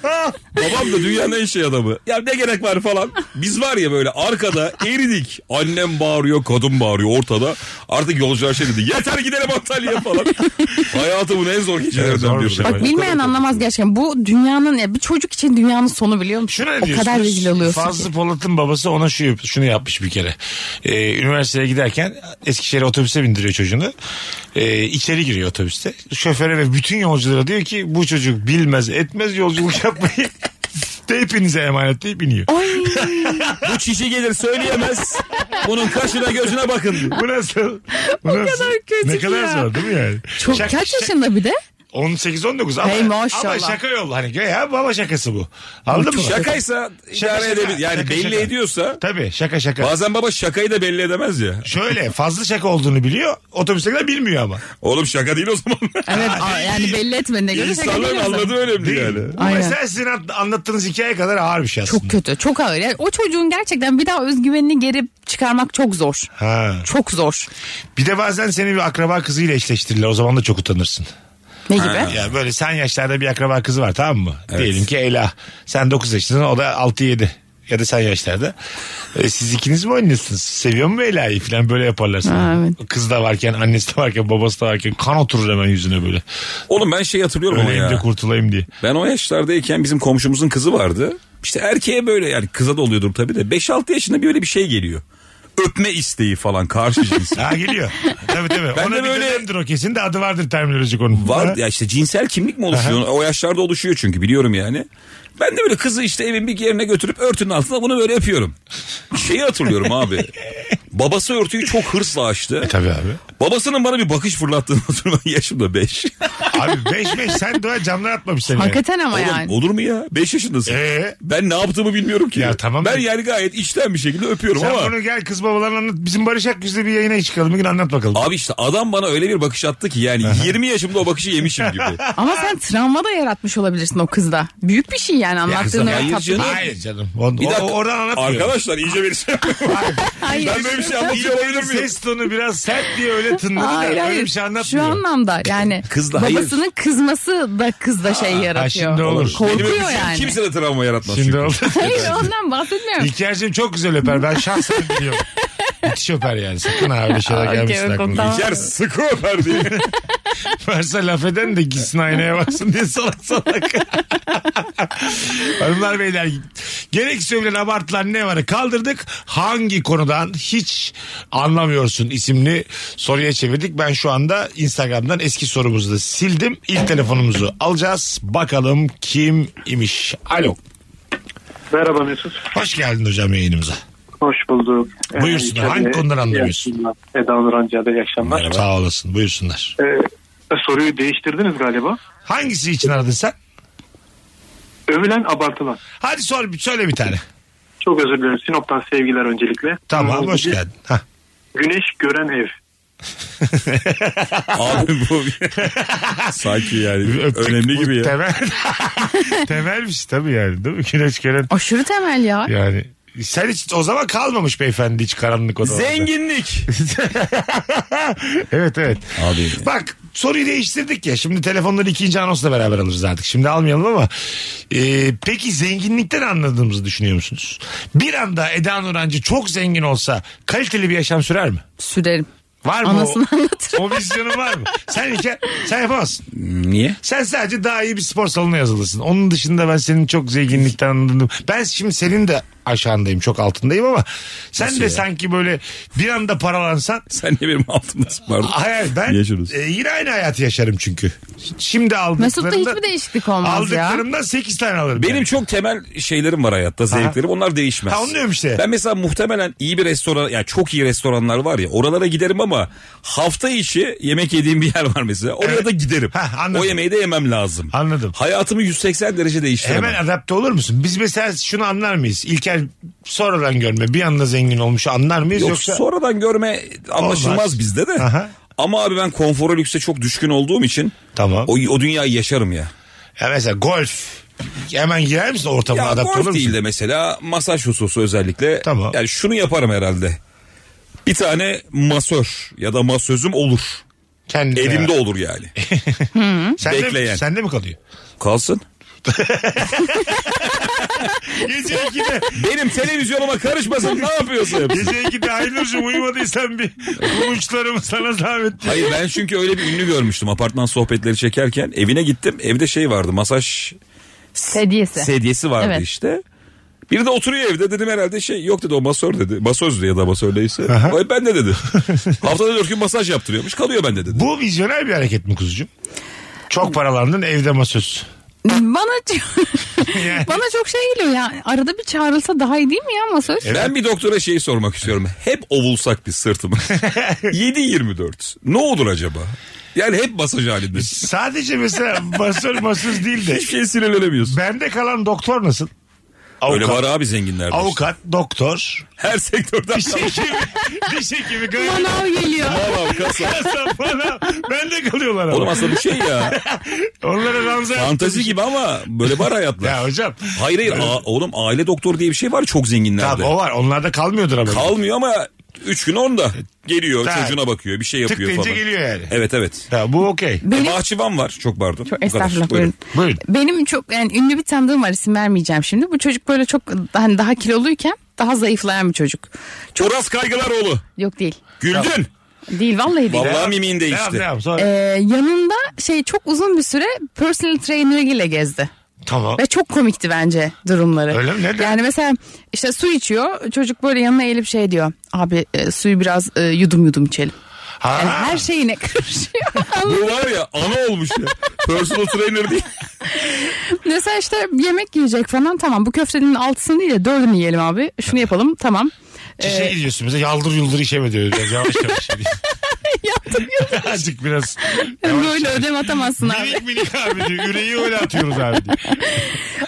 Speaker 4: Babam da dünyanın en şey adamı. Ya ne gerek var falan. Biz var ya böyle arkada eridik. Annem bağırıyor, kadın bağırıyor ortada. Artık yolcular şey dedi. Yeter gidelim Antalya'ya falan. Hayatımın en zor
Speaker 3: Evet,
Speaker 4: gecelerden
Speaker 3: zor bir
Speaker 4: biri.
Speaker 3: şey.
Speaker 5: Bak bilmeyen anlamaz gerçekten. Bu dünyanın ya bir çocuk için dünyanın sonu biliyor musun?
Speaker 3: Şuna ne
Speaker 5: o kadar
Speaker 3: diyorsunuz?
Speaker 5: rezil oluyorsun.
Speaker 3: Fazlı
Speaker 5: ki.
Speaker 3: Polat'ın babası ona şu, şunu yapmış bir kere. Ee, üniversiteye giderken Eskişehir'e otobüse bindiriyor çocuğunu. Ee, içeri giriyor otobüste. Şoföre ve bütün yolculara diyor ki bu çocuk bilmez etmez yolculuk yapmayı. [LAUGHS] De hepinize emanet deyip iniyor.
Speaker 5: Ay
Speaker 4: Bu çişi gelir söyleyemez. Bunun kaşına gözüne bakın diyor.
Speaker 3: Bu nasıl?
Speaker 5: [LAUGHS]
Speaker 3: Bu nasıl?
Speaker 5: kadar kötü
Speaker 3: Ne
Speaker 5: ki
Speaker 3: kadar
Speaker 5: ya.
Speaker 3: zor değil mi yani?
Speaker 5: çok
Speaker 3: Şak-
Speaker 5: kaç
Speaker 3: şak-
Speaker 5: yaşında bir de?
Speaker 3: 18-19 ama,
Speaker 5: Hey maşallah.
Speaker 3: ama şaka yolu. Hani ya baba şakası bu. Anladın mı?
Speaker 4: Şakaysa
Speaker 3: Şaka,
Speaker 4: idare
Speaker 3: şaka.
Speaker 4: edebilir. Yani
Speaker 3: Şaka,
Speaker 4: belli
Speaker 3: şaka.
Speaker 4: ediyorsa.
Speaker 3: Tabii şaka şaka.
Speaker 4: Bazen baba şakayı da belli edemez ya.
Speaker 3: Şöyle fazla şaka olduğunu biliyor. Otobüstekiler bilmiyor ama.
Speaker 4: Oğlum şaka değil o zaman. [LAUGHS]
Speaker 5: Evet a- yani belli etmediğine göre şaka
Speaker 4: İnsanların
Speaker 5: biliyorsun.
Speaker 4: anladığı önemli
Speaker 3: Değil.
Speaker 4: yani.
Speaker 3: Bu
Speaker 5: Aynen.
Speaker 3: mesela sizin at- anlattığınız hikaye kadar ağır bir şey aslında.
Speaker 5: Çok kötü çok ağır. Yani o çocuğun gerçekten bir daha özgüvenini geri çıkarmak çok zor.
Speaker 3: Ha.
Speaker 5: Çok zor.
Speaker 3: Bir de bazen seni bir akraba kızıyla eşleştirirler. O zaman da çok utanırsın.
Speaker 5: Ne gibi?
Speaker 3: Ya böyle sen yaşlarda bir akraba kızı var tamam mı? Diyelim ki Ela. Sen 9 yaşındasın o da 6-7 ya da sen yaşlarda. E, siz ikiniz mi oynuyorsunuz? Seviyor mu Ela'yı falan böyle yaparlar sana.
Speaker 5: Ha, evet.
Speaker 3: Kız da varken, annesi de varken, babası da varken kan oturur hemen yüzüne böyle.
Speaker 4: Oğlum ben şey hatırlıyorum ama
Speaker 3: Öleyim de
Speaker 4: ya.
Speaker 3: kurtulayım diye.
Speaker 4: Ben o yaşlardayken bizim komşumuzun kızı vardı. İşte erkeğe böyle yani kıza da oluyordur tabii de 5-6 yaşında böyle bir şey geliyor. Öpme isteği falan
Speaker 3: [LAUGHS]
Speaker 4: karşı cins.
Speaker 3: Ha geliyor. tabii tabii.
Speaker 4: Ben
Speaker 3: Ona
Speaker 4: de
Speaker 3: bir
Speaker 4: böyle-
Speaker 3: dönemdir o kesin de adı vardır terminolojik onun.
Speaker 4: Var ya işte cinsel kimlik mi oluşuyor? O yaşlarda oluşuyor çünkü biliyorum yani. Ben de böyle kızı işte evin bir yerine götürüp örtünün altında bunu böyle öpüyorum. Şeyi hatırlıyorum abi. Babası örtüyü çok hırsla açtı.
Speaker 3: E, Tabii abi.
Speaker 4: Babasının bana bir bakış fırlattığını hatırlıyorum. [LAUGHS] Yaşım da 5.
Speaker 3: Abi 5 5 sen dua camdan atmamış seni.
Speaker 5: Hakikaten ama yani.
Speaker 4: Olur mu ya? 5 yaşındasın.
Speaker 3: Ee?
Speaker 4: Ben ne yaptığımı bilmiyorum ki.
Speaker 3: Ya tamam.
Speaker 4: Ben yani gayet içten bir şekilde öpüyorum
Speaker 3: Sen
Speaker 4: ama.
Speaker 3: bunu gel kız babalarına anlat. Bizim Barış Akgüz'le bir yayına çıkalım. Bir gün anlat bakalım.
Speaker 4: Abi işte adam bana öyle bir bakış attı
Speaker 3: [LAUGHS]
Speaker 4: ki yani 20 yaşımda o bakışı yemişim gibi.
Speaker 5: Ama sen travma da yaratmış olabilirsin o kızda. Büyük bir şey yani anlattığın
Speaker 4: kızım,
Speaker 5: öyle
Speaker 4: hayır
Speaker 5: tatlı. şey.
Speaker 4: canım.
Speaker 3: Hayır canım. O,
Speaker 4: Bir
Speaker 3: o-
Speaker 4: dakika.
Speaker 3: oradan anlatmıyor.
Speaker 4: Arkadaşlar
Speaker 3: [LAUGHS]
Speaker 4: iyice bir şey.
Speaker 5: Hayır.
Speaker 4: ben böyle bir şey anlatıyor olabilir miyim?
Speaker 3: Ses tonu biraz sert diye öyle tınladı
Speaker 5: Hayır
Speaker 3: da öyle
Speaker 5: hayır.
Speaker 3: bir şey
Speaker 5: Şu
Speaker 3: anlatmıyor.
Speaker 5: anlamda yani
Speaker 4: Kızla, hayır.
Speaker 5: babasının kızması da kızda şey yaratıyor.
Speaker 3: şimdi olur.
Speaker 4: Benim
Speaker 5: Korkuyor
Speaker 4: öpüşüm
Speaker 5: yani.
Speaker 4: Kimse de travma yaratmaz.
Speaker 3: Şimdi
Speaker 4: çünkü. [LAUGHS]
Speaker 3: oldu.
Speaker 5: [LAUGHS] Hayır ondan bahsetmiyorum.
Speaker 3: İlker'cim çok güzel öper. Ben şahsen biliyorum. Müthiş öper yani. Sakın ha öyle şeyler
Speaker 5: Okey,
Speaker 3: gelmesin
Speaker 5: okey,
Speaker 3: aklına.
Speaker 5: tamam.
Speaker 4: İlker sıkı öper diye.
Speaker 3: [LAUGHS] Varsa laf eden de gitsin aynaya baksın diye salak salak. Hanımlar beyler gerek söylenen abartılan ne var kaldırdık. Hangi konudan hiç anlamıyorsun isimli soruya çevirdik. Ben şu anda Instagram'dan eski sorumuzu da sildim. İlk telefonumuzu alacağız. Bakalım kim imiş. Alo.
Speaker 6: Merhaba Mesut.
Speaker 3: Hoş geldin hocam yayınımıza.
Speaker 6: Hoş bulduk. Ee,
Speaker 3: Buyursunlar. Hangi konuları anlamıyorsun?
Speaker 6: anlamıyorsun? Eda Nur Ancar'da iyi akşamlar.
Speaker 3: Sağ olasın. Buyursunlar.
Speaker 6: Ee, soruyu değiştirdiniz galiba.
Speaker 3: Hangisi için aradın sen?
Speaker 6: Övülen abartılan.
Speaker 3: Hadi sor, söyle bir tane.
Speaker 6: Çok özür dilerim. Sinop'tan sevgiler öncelikle.
Speaker 3: Tamam hoş geldin. Hah.
Speaker 6: Güneş gören ev.
Speaker 4: Abi bu sanki yani
Speaker 3: Öptük.
Speaker 4: önemli
Speaker 3: Bu
Speaker 4: gibi ya.
Speaker 3: Temel. [LAUGHS] Temelmiş tabii yani değil mi? Güneş gelen
Speaker 5: Aşırı temel ya.
Speaker 3: yani. Sen hiç o zaman kalmamış beyefendi hiç karanlık odalarda. [LAUGHS]
Speaker 4: Zenginlik.
Speaker 3: Evet evet.
Speaker 4: Abi.
Speaker 3: Bak soruyu değiştirdik ya. Şimdi telefonları ikinci anonsla beraber alırız artık. Şimdi almayalım ama. Ee, peki zenginlikten anladığımızı düşünüyor musunuz? Bir anda Eda Nurancı çok zengin olsa kaliteli bir yaşam sürer mi?
Speaker 5: Sürerim.
Speaker 3: Var mı
Speaker 5: Anasını
Speaker 3: o?
Speaker 5: anlatırım.
Speaker 3: O vizyonun var mı? Sen İlker, sen yapamazsın.
Speaker 4: Niye?
Speaker 3: Sen sadece daha iyi bir spor salonuna yazılırsın. Onun dışında ben senin çok zenginlikten anladım. Ben şimdi senin de aşağındayım çok altındayım ama sen de sanki böyle bir anda paralansan
Speaker 4: Sen niye benim altımdasın pardon.
Speaker 3: hayır ben
Speaker 4: Yaşarız.
Speaker 3: e, yine aynı hayatı yaşarım çünkü. Şimdi aldıklarımda
Speaker 5: Mesut'ta hiçbir değişiklik olmaz ya.
Speaker 3: aldıklarımdan 8 tane alırım.
Speaker 4: Benim
Speaker 3: yani.
Speaker 4: çok temel şeylerim var hayatta zevklerim onlar değişmez.
Speaker 3: Ha, onu diyorum işte.
Speaker 4: Ben mesela muhtemelen iyi bir restoran yani çok iyi restoranlar var ya oralara giderim ama hafta içi yemek yediğim bir yer var mesela oraya
Speaker 3: Evet.
Speaker 4: da giderim.
Speaker 3: Ha, anladım.
Speaker 4: o yemeği de yemem lazım.
Speaker 3: Anladım.
Speaker 4: Hayatımı 180 derece değiştiremem.
Speaker 3: E, Hemen adapte olur musun? Biz mesela şunu anlar mıyız? İlker sonradan görme bir anda zengin olmuş anlar mıyız
Speaker 4: Yok
Speaker 3: yoksa?
Speaker 4: sonradan görme anlaşılmaz
Speaker 3: Olmaz.
Speaker 4: bizde de.
Speaker 3: Aha.
Speaker 4: Ama abi ben konfora lükse çok düşkün olduğum için
Speaker 3: Tamam.
Speaker 4: o, o dünyayı yaşarım ya.
Speaker 3: Ya mesela golf. Hemen girer misin ortamına
Speaker 4: Ya
Speaker 3: adapte olur
Speaker 4: golf
Speaker 3: musun?
Speaker 4: değil de mesela masaj hususu özellikle.
Speaker 3: Tamam.
Speaker 4: Yani şunu yaparım herhalde. Bir tane masör ya da masözüm olur.
Speaker 3: Kendine
Speaker 4: Evimde olur yani.
Speaker 3: Sen
Speaker 4: Bekleyen.
Speaker 3: De, sen de mi kalıyor? [LAUGHS]
Speaker 4: Kalsın.
Speaker 3: Gece 2'de.
Speaker 4: Benim televizyonuma karışmasın ne yapıyorsun?
Speaker 3: Gece 2'de Aynur'cum uyumadıysan bir bu uçlarımı sana zahmet diye.
Speaker 4: Hayır ben çünkü öyle bir ünlü görmüştüm apartman sohbetleri çekerken. Evine gittim evde şey vardı masaj
Speaker 5: Sedyesi.
Speaker 4: sedyesi vardı
Speaker 5: Evet.
Speaker 4: işte. Biri de oturuyor evde dedim herhalde şey yok dedi o masör dedi. Masözdü ya da masör neyse. Ay, Ben de dedi. Haftada dört gün masaj yaptırıyormuş kalıyor bende dedi.
Speaker 3: Bu vizyoner bir hareket mi kuzucuğum? Çok paralandın evde masöz.
Speaker 5: Bana [LAUGHS] bana çok şey geliyor ya. Arada bir çağrılsa daha iyi değil mi ya masaj?
Speaker 4: Ben bir doktora şeyi sormak istiyorum. Hep ovulsak
Speaker 3: [LAUGHS]
Speaker 4: biz sırtımız. 7-24. Ne olur acaba? Yani hep masaj halinde.
Speaker 3: Sadece mesela masöz masöz değil de
Speaker 4: Hiçbir şey sinirlenemiyorsun.
Speaker 3: bende kalan doktor nasıl? Avukat.
Speaker 4: Öyle var abi zenginlerde. işte.
Speaker 3: Avukat, şey- doktor,
Speaker 4: Her sektörden. [LAUGHS]
Speaker 3: diş hekimi, diş hekimi, şey gayet
Speaker 5: Manav geliyor.
Speaker 4: Tamam, kasa.
Speaker 3: kasap bana bende kalıyorlar ama.
Speaker 4: Oğlum aslında bu şey ya.
Speaker 3: Onlara ranza şey-
Speaker 4: Fantezi gibi ama böyle var hayatlar.
Speaker 3: Ya hocam.
Speaker 4: Hayır hayır. a- oğlum aile doktoru diye bir şey var çok zenginlerde.
Speaker 3: Tamam o var. Onlarda kalmıyordur ama.
Speaker 4: Kalmıyor ama 3 gün onda. Geliyor
Speaker 3: Tamam.
Speaker 4: çocuğuna bakıyor bir şey
Speaker 3: Tık
Speaker 4: yapıyor
Speaker 3: deyince
Speaker 4: falan.
Speaker 3: geliyor yani.
Speaker 4: Evet evet.
Speaker 3: Ya, bu okey.
Speaker 4: E,
Speaker 5: Benim
Speaker 4: Bahçıvan var çok pardon. Bu kadar.
Speaker 5: Estağfurullah
Speaker 4: Buyurun.
Speaker 5: buyurun.
Speaker 3: Buyurun.
Speaker 5: Benim çok yani ünlü bir tanıdığım var isim vermeyeceğim şimdi. Bu çocuk böyle çok hani daha kiloluyken daha zayıflayan bir çocuk.
Speaker 4: Uras Kaygılaroğlu.
Speaker 5: Yok değil.
Speaker 4: Güldün.
Speaker 5: Değil vallahi değil.
Speaker 4: Vallahi
Speaker 3: Ne
Speaker 4: mimin
Speaker 3: yap, ne
Speaker 4: değişti.
Speaker 3: yap, sonra-
Speaker 5: Ee, yanında şey çok uzun bir süre personal trainer'iyle gezdi.
Speaker 3: tamam.
Speaker 5: Ve çok komikti bence durumları.
Speaker 3: Öyle mi? Neden?
Speaker 5: Yani mesela işte su içiyor. Çocuk böyle yanına eğilip şey diyor. Abi e, suyu biraz e, yudum yudum içelim.
Speaker 3: Ha.
Speaker 5: Yani her
Speaker 3: [LAUGHS]
Speaker 5: şeyine karışıyor.
Speaker 4: Bu var ya ana olmuş ya. Personal trainer değil.
Speaker 5: Mesela işte yemek yiyecek falan tamam bu köftenin altısını değil de dördünü yiyelim abi. Şunu yapalım tamam.
Speaker 3: İşe gidiyorsun mesela şey yaldır yuldur işe mi diyor? Yavaş
Speaker 5: [LAUGHS]
Speaker 3: yavaş.
Speaker 5: Yaptırıyorum.
Speaker 3: [LAUGHS] Azıcık biraz. [LAUGHS] yavaş
Speaker 5: Böyle
Speaker 3: yavaş.
Speaker 5: ödem atamazsın abi.
Speaker 3: Minik minik abi diyor. Yüreği öyle atıyoruz abi diyor.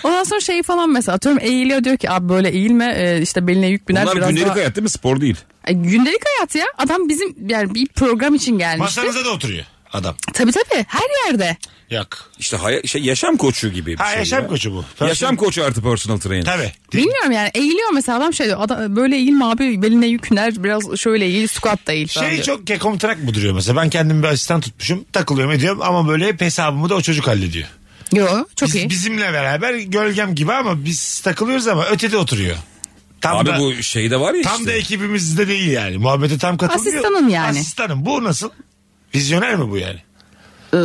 Speaker 5: Ondan sonra şeyi falan mesela atıyorum eğiliyor diyor ki abi böyle eğilme e, işte beline yük biner.
Speaker 4: Bunlar
Speaker 5: biraz
Speaker 4: gündelik
Speaker 5: daha-
Speaker 4: hayat değil mi? Spor değil.
Speaker 5: Ay, gündelik hayat ya. Adam bizim yani bir program için gelmişti.
Speaker 3: Masanıza da oturuyor adam.
Speaker 5: Tabii tabii her yerde.
Speaker 3: Yok.
Speaker 4: İşte hay- şey, yaşam koçu gibi bir
Speaker 3: Ha
Speaker 4: şey.
Speaker 3: yaşam
Speaker 4: ya.
Speaker 3: koçu bu.
Speaker 4: Yaşam koçu artı personal trainer.
Speaker 3: Tabii.
Speaker 5: Bilmiyorum yani eğiliyor mesela adam şey diyor adam, böyle eğilme abi beline yüküner biraz şöyle eğil squat da eğil falan
Speaker 3: Şey
Speaker 5: diyor.
Speaker 3: çok kekomtrak mı duruyor mesela? Ben kendim bir asistan tutmuşum. Takılıyorum ediyorum ama böyle hep hesabımı da o çocuk hallediyor.
Speaker 5: Yo, çok
Speaker 3: Biz-
Speaker 5: iyi.
Speaker 3: Bizimle beraber gölgem gibi ama biz takılıyoruz ama ötede oturuyor. Tam
Speaker 4: Abi
Speaker 3: da,
Speaker 4: bu şeyde var ya
Speaker 3: tam
Speaker 4: işte.
Speaker 3: da ekibimizde değil yani. Muhabbete tam katılmıyor.
Speaker 5: Asistanın yani.
Speaker 3: Asistanım. Bu nasıl? Vizyoner mi bu yani?
Speaker 5: Ee,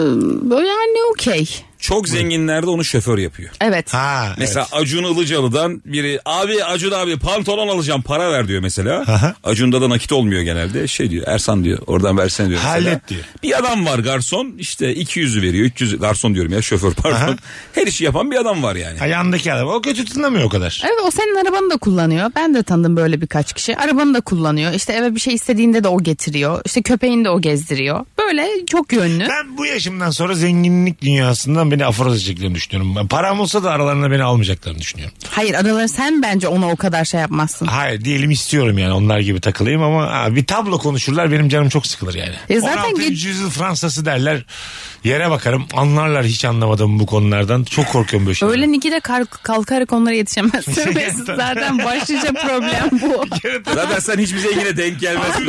Speaker 5: Böyle yani okey.
Speaker 4: Çok zenginlerde onu şoför yapıyor.
Speaker 5: Evet.
Speaker 3: Ha.
Speaker 4: Mesela Acun Ilıcalı'dan biri abi Acun abi pantolon alacağım para ver diyor mesela.
Speaker 3: Aha.
Speaker 4: Acun'da da nakit olmuyor genelde. Şey diyor Ersan diyor oradan versene diyor. mesela.
Speaker 3: Hallet diyor.
Speaker 4: Bir adam var garson işte 200'ü veriyor 300 garson diyorum ya şoför pardon.
Speaker 3: Aha.
Speaker 4: Her işi yapan bir adam var yani.
Speaker 3: Ha, yandaki adam. O kötü tınlamıyor o kadar.
Speaker 5: Evet o senin arabanı da kullanıyor. Ben de tanıdım böyle birkaç kişi. Arabanı da kullanıyor. İşte eve bir şey istediğinde de o getiriyor. İşte köpeğini de o gezdiriyor. Böyle çok yönlü.
Speaker 3: Ben bu yaşımdan sonra zenginlik dünyasından beni aforoz edeceklerini düşünüyorum. Ben param olsa da aralarına beni almayacaklarını düşünüyorum.
Speaker 5: Hayır araları sen bence ona o kadar şey yapmazsın.
Speaker 3: Hayır diyelim istiyorum yani onlar gibi takılayım ama ha, bir tablo konuşurlar benim canım çok sıkılır yani.
Speaker 5: E zaten
Speaker 3: 16.
Speaker 5: ge-
Speaker 3: yüzyıl Fransası derler yere bakarım anlarlar hiç anlamadım bu konulardan çok korkuyorum böyle şeylerden.
Speaker 5: Öğlen 2'de kalk- kalkarak
Speaker 3: [LAUGHS]
Speaker 5: onlara yetişemezsin. Ve zaten başlıca problem bu.
Speaker 4: Zaten sen hiçbir zengine denk gelmezsin.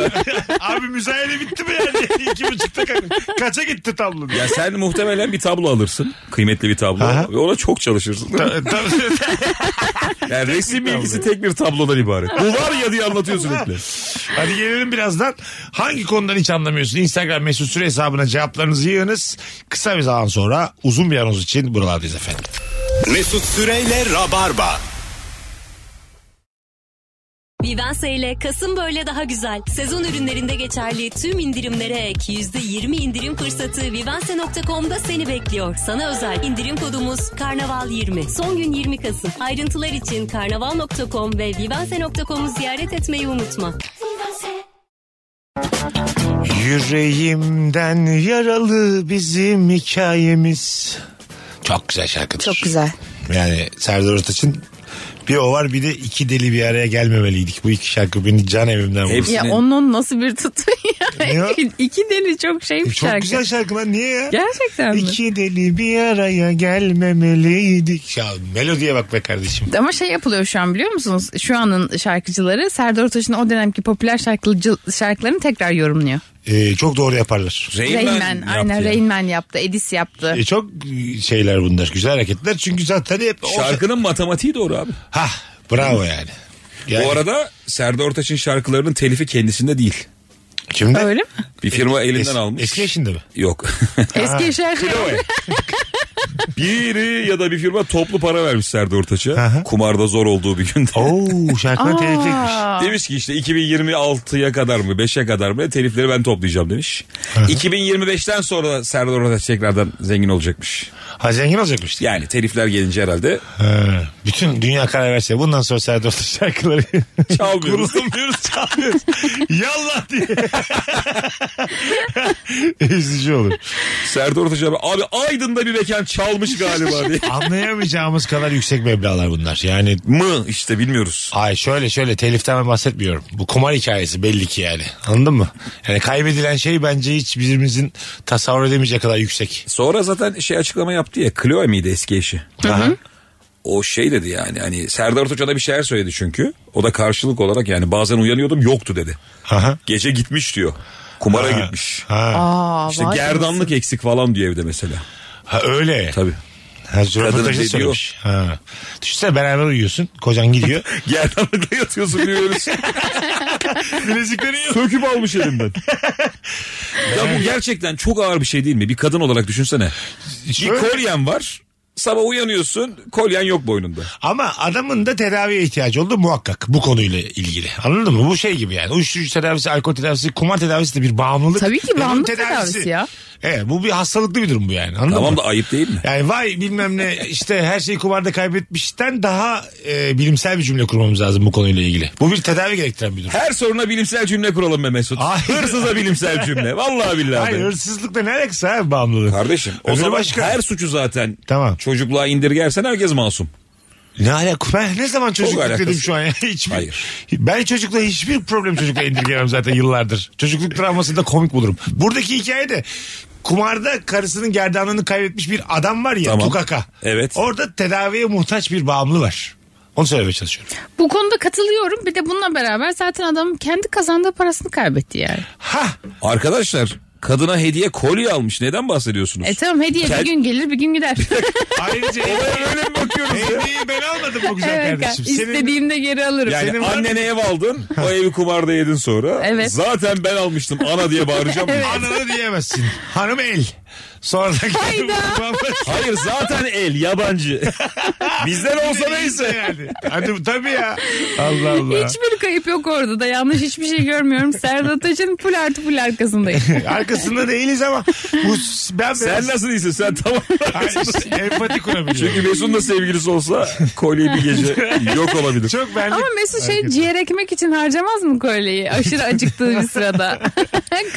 Speaker 3: Abi müzayene bitti mi yani? [LAUGHS] İki buçukta ka- kaça gitti tablo? [LAUGHS] diye.
Speaker 4: ya sen muhtemelen bir tablo alırsın. Kıymetli bir tablo.
Speaker 3: Aha.
Speaker 4: Ve ona çok çalışırsın.
Speaker 3: Ta- ta-
Speaker 4: Yani resim bilgisi tek bir tablodan ibaret. Bu var ya diye anlatıyor sürekli.
Speaker 3: Hadi gelelim birazdan. Hangi konudan hiç anlamıyorsun? Instagram mesut süre hesabına cevaplarınızı yığınız. Kısa bir zaman sonra uzun bir anons için buralardayız efendim.
Speaker 2: Mesut Süreyle Rabarba.
Speaker 7: Vivense ile Kasım böyle daha güzel. Sezon ürünlerinde geçerli tüm indirimlere ek %20 indirim fırsatı vivense.com'da seni bekliyor. Sana özel indirim kodumuz karnaval 20. Son gün 20 Kasım. Ayrıntılar için karnaval.com ve vivense.com'u ziyaret etmeyi unutma.
Speaker 3: Yüreğimden yaralı bizim hikayemiz. Çok güzel şarkıdır.
Speaker 5: Çok güzel.
Speaker 3: Yani Serdar Ortaç'ın bir o var bir de iki deli bir araya gelmemeliydik. Bu iki şarkı beni can evimden vurdu.
Speaker 4: Hepsi-
Speaker 5: Ya
Speaker 4: Senin-
Speaker 5: onun nasıl bir tutu
Speaker 3: Ne o?
Speaker 5: ya. [LAUGHS] İki deli çok şey bir
Speaker 3: E, Çok
Speaker 5: şarkı.
Speaker 3: güzel şarkı lan niye ya?
Speaker 5: Gerçekten mi?
Speaker 3: İki deli bir araya gelmemeliydik. Ya melodiye bak be kardeşim.
Speaker 5: Ama şey yapılıyor şu an biliyor musunuz? Şu anın şarkıcıları Serdar Ortaç'ın o dönemki popüler şarkıcı, şarkılarını tekrar yorumluyor.
Speaker 3: Ee, çok doğru yaparlar.
Speaker 4: Rain Man
Speaker 5: Rain
Speaker 4: yaptı
Speaker 5: Man, aynen
Speaker 4: yani.
Speaker 5: Rain Man yaptı, Edis yaptı.
Speaker 3: E, çok şeyler bunlar. Güzel hareketler. Çünkü zaten hep...
Speaker 4: Şarkının matematiği doğru abi.
Speaker 3: Ha, bravo yani. yani
Speaker 4: Bu arada Serdar Ortaç'ın şarkılarının telifi kendisinde değil.
Speaker 3: kimde?
Speaker 5: Öyle mi?
Speaker 4: Bir firma elinden
Speaker 3: Es-
Speaker 4: almış.
Speaker 3: Eski eşinde mi?
Speaker 4: [LAUGHS] Yok.
Speaker 5: Eski şarkı.
Speaker 4: Biri ya da bir firma toplu para vermiş Serdar Ortaç'a.
Speaker 3: Aha.
Speaker 4: Kumarda zor olduğu bir günde.
Speaker 3: Oo şarkının telif etmiş.
Speaker 4: Demiş ki işte 2026'ya kadar mı 5'e kadar mı E, telifleri ben toplayacağım demiş. 2025'ten sonra Serdar Ortaç tekrardan zengin olacakmış.
Speaker 3: Ha zengin olacakmış.
Speaker 4: Yani telifler gelince herhalde
Speaker 3: Ha, bütün dünya karar verse bundan sonra Serdar Ortaç şarkıları
Speaker 4: [LAUGHS] Çalmıyoruz.
Speaker 3: Kurulmuyoruz çalmıyoruz. Yallah
Speaker 5: [LAUGHS]
Speaker 3: diye. [LAUGHS] Üzücü olur.
Speaker 4: Serdar Ortaç abi, abi Aydın'da bir mekan çalmış
Speaker 3: [LAUGHS]
Speaker 4: galiba diye.
Speaker 3: Anlayamayacağımız kadar yüksek meblalar bunlar. Yani
Speaker 4: mı işte bilmiyoruz.
Speaker 3: Ay şöyle şöyle teliften ben bahsetmiyorum. Bu kumar hikayesi belli ki yani. Anladın mı? Yani kaybedilen şey bence hiç birimizin tasavvur edemeyeceği kadar yüksek.
Speaker 4: Sonra zaten şey açıklama yaptı ya Chloe miydi eski eşi? O şey dedi yani hani Serdar Ortaç'a da bir şeyler söyledi çünkü. O da karşılık olarak yani bazen uyanıyordum yoktu dedi.
Speaker 3: Aha.
Speaker 4: Gece gitmiş diyor. Kumara
Speaker 3: Ha.
Speaker 4: gitmiş.
Speaker 3: Ha.
Speaker 5: Aa,
Speaker 4: İşte
Speaker 5: vay
Speaker 4: gerdanlık eksik falan diyor evde mesela.
Speaker 3: ha öyle.
Speaker 4: Tabii.
Speaker 3: Ha, röportajda
Speaker 4: dediği
Speaker 3: söylemiş. Ha. Düşünsene beraber uyuyorsun. Kocan gidiyor.
Speaker 4: Gerdanlıkla yatıyorsun
Speaker 3: [LAUGHS]
Speaker 4: diyor öyle.
Speaker 3: Bileziklerin yok.
Speaker 4: Söküp almış elimden. ya bu gerçekten çok ağır bir şey değil mi? Bir kadın olarak düşünsene. Bir
Speaker 3: Şöyle-
Speaker 4: kolyen var. Sabah uyanıyorsun kolyen yok boynunda.
Speaker 3: Ama adamın da tedaviye ihtiyacı oldu muhakkak bu konuyla ilgili. Anladın mı? Bu şey gibi yani. Uyuşturucu tedavisi, alkol tedavisi, kumar tedavisi de bir bağımlılık.
Speaker 5: Tabii ki
Speaker 3: Ve bunun
Speaker 5: bağımlılık tedavisi ya.
Speaker 3: Evet bu bir hastalıklı bir durum bu yani. Anladın
Speaker 4: Tamam
Speaker 3: mı?
Speaker 4: da ayıp değil mi?
Speaker 3: Yani vay bilmem ne işte her şeyi kumarda kaybetmişten daha e, bilimsel bir cümle kurmamız lazım bu konuyla ilgili. Bu bir tedavi gerektiren bir durum.
Speaker 4: Her soruna bilimsel cümle kuralım be Mesut.
Speaker 3: Hayır.
Speaker 4: Hırsıza bilimsel cümle. Vallahi billahi.
Speaker 3: Hayır
Speaker 4: be.
Speaker 3: hırsızlıkla ne alakası abi bağımlılık?
Speaker 4: Kardeşim o
Speaker 3: Öbürü
Speaker 4: zaman
Speaker 3: başka.
Speaker 4: her suçu zaten
Speaker 3: Tamam.
Speaker 4: çocukluğa indirgersen herkes masum.
Speaker 3: Ne alakası? Ben ne zaman çocukluk
Speaker 4: alakası.
Speaker 3: dedim şu an ya? Hiçbir,
Speaker 4: Hayır.
Speaker 3: Ben çocukla hiçbir problem çocukla indirgemem zaten yıllardır. Çocukluk travmasını da komik bulurum. Buradaki hikaye de kumarda karısının gerdanlığını kaybetmiş bir adam var ya
Speaker 4: Tamam.
Speaker 3: Tukaka.
Speaker 4: Evet.
Speaker 3: Orada tedaviye muhtaç bir bağımlı var. Onu söylemeye çalışıyorum.
Speaker 5: Bu konuda katılıyorum. Bir de bununla beraber zaten adam kendi kazandığı parasını kaybetti yani.
Speaker 3: Ha
Speaker 4: Arkadaşlar kadına hediye kolye almış. Neden bahsediyorsunuz?
Speaker 5: E tamam hediye
Speaker 4: Kend-
Speaker 5: bir gün gelir bir gün gider.
Speaker 4: [LAUGHS]
Speaker 3: ayrıca hediye-
Speaker 4: Öyle mi bakıyoruz ya?
Speaker 3: hediyeyi ben almadım bu güzel
Speaker 5: evet,
Speaker 3: kardeşim. Senin
Speaker 5: istediğimde geri alırım.
Speaker 4: Yani
Speaker 3: Senin var
Speaker 4: annene ev aldın,
Speaker 3: [LAUGHS]
Speaker 4: o evi kumarda yedin sonra.
Speaker 5: Evet.
Speaker 4: Zaten ben almıştım ana diye bağıracağım.
Speaker 3: ananı diyemezsin. Hanım el. Sonra Hayda.
Speaker 4: Hayır zaten
Speaker 3: [LAUGHS]
Speaker 4: el yabancı. Bizden olsa neyse.
Speaker 3: yani. Hadi tabii ya. Allah Allah.
Speaker 5: Hiçbir kayıp yok orada da yanlış hiçbir şey görmüyorum. Serdar Taş'ın pul artı pul arkasındayım.
Speaker 3: Arkasında değiliz ama bu ben
Speaker 4: Sen
Speaker 3: biraz-
Speaker 4: nasıl değilsin? Sen tamam.
Speaker 3: [LAUGHS]
Speaker 4: [LAUGHS]
Speaker 3: Hayır, empati kurabiliyorum.
Speaker 4: Çünkü Mesut'un da sevgilisi olsa kolye
Speaker 3: [LAUGHS]
Speaker 4: bir gece yok olabilir.
Speaker 3: çok benlik.
Speaker 5: Ama Mesut şey
Speaker 3: Hareket.
Speaker 5: ciğer ekmek için harcamaz mı kolyeyi? Aşırı acıktığı bir sırada.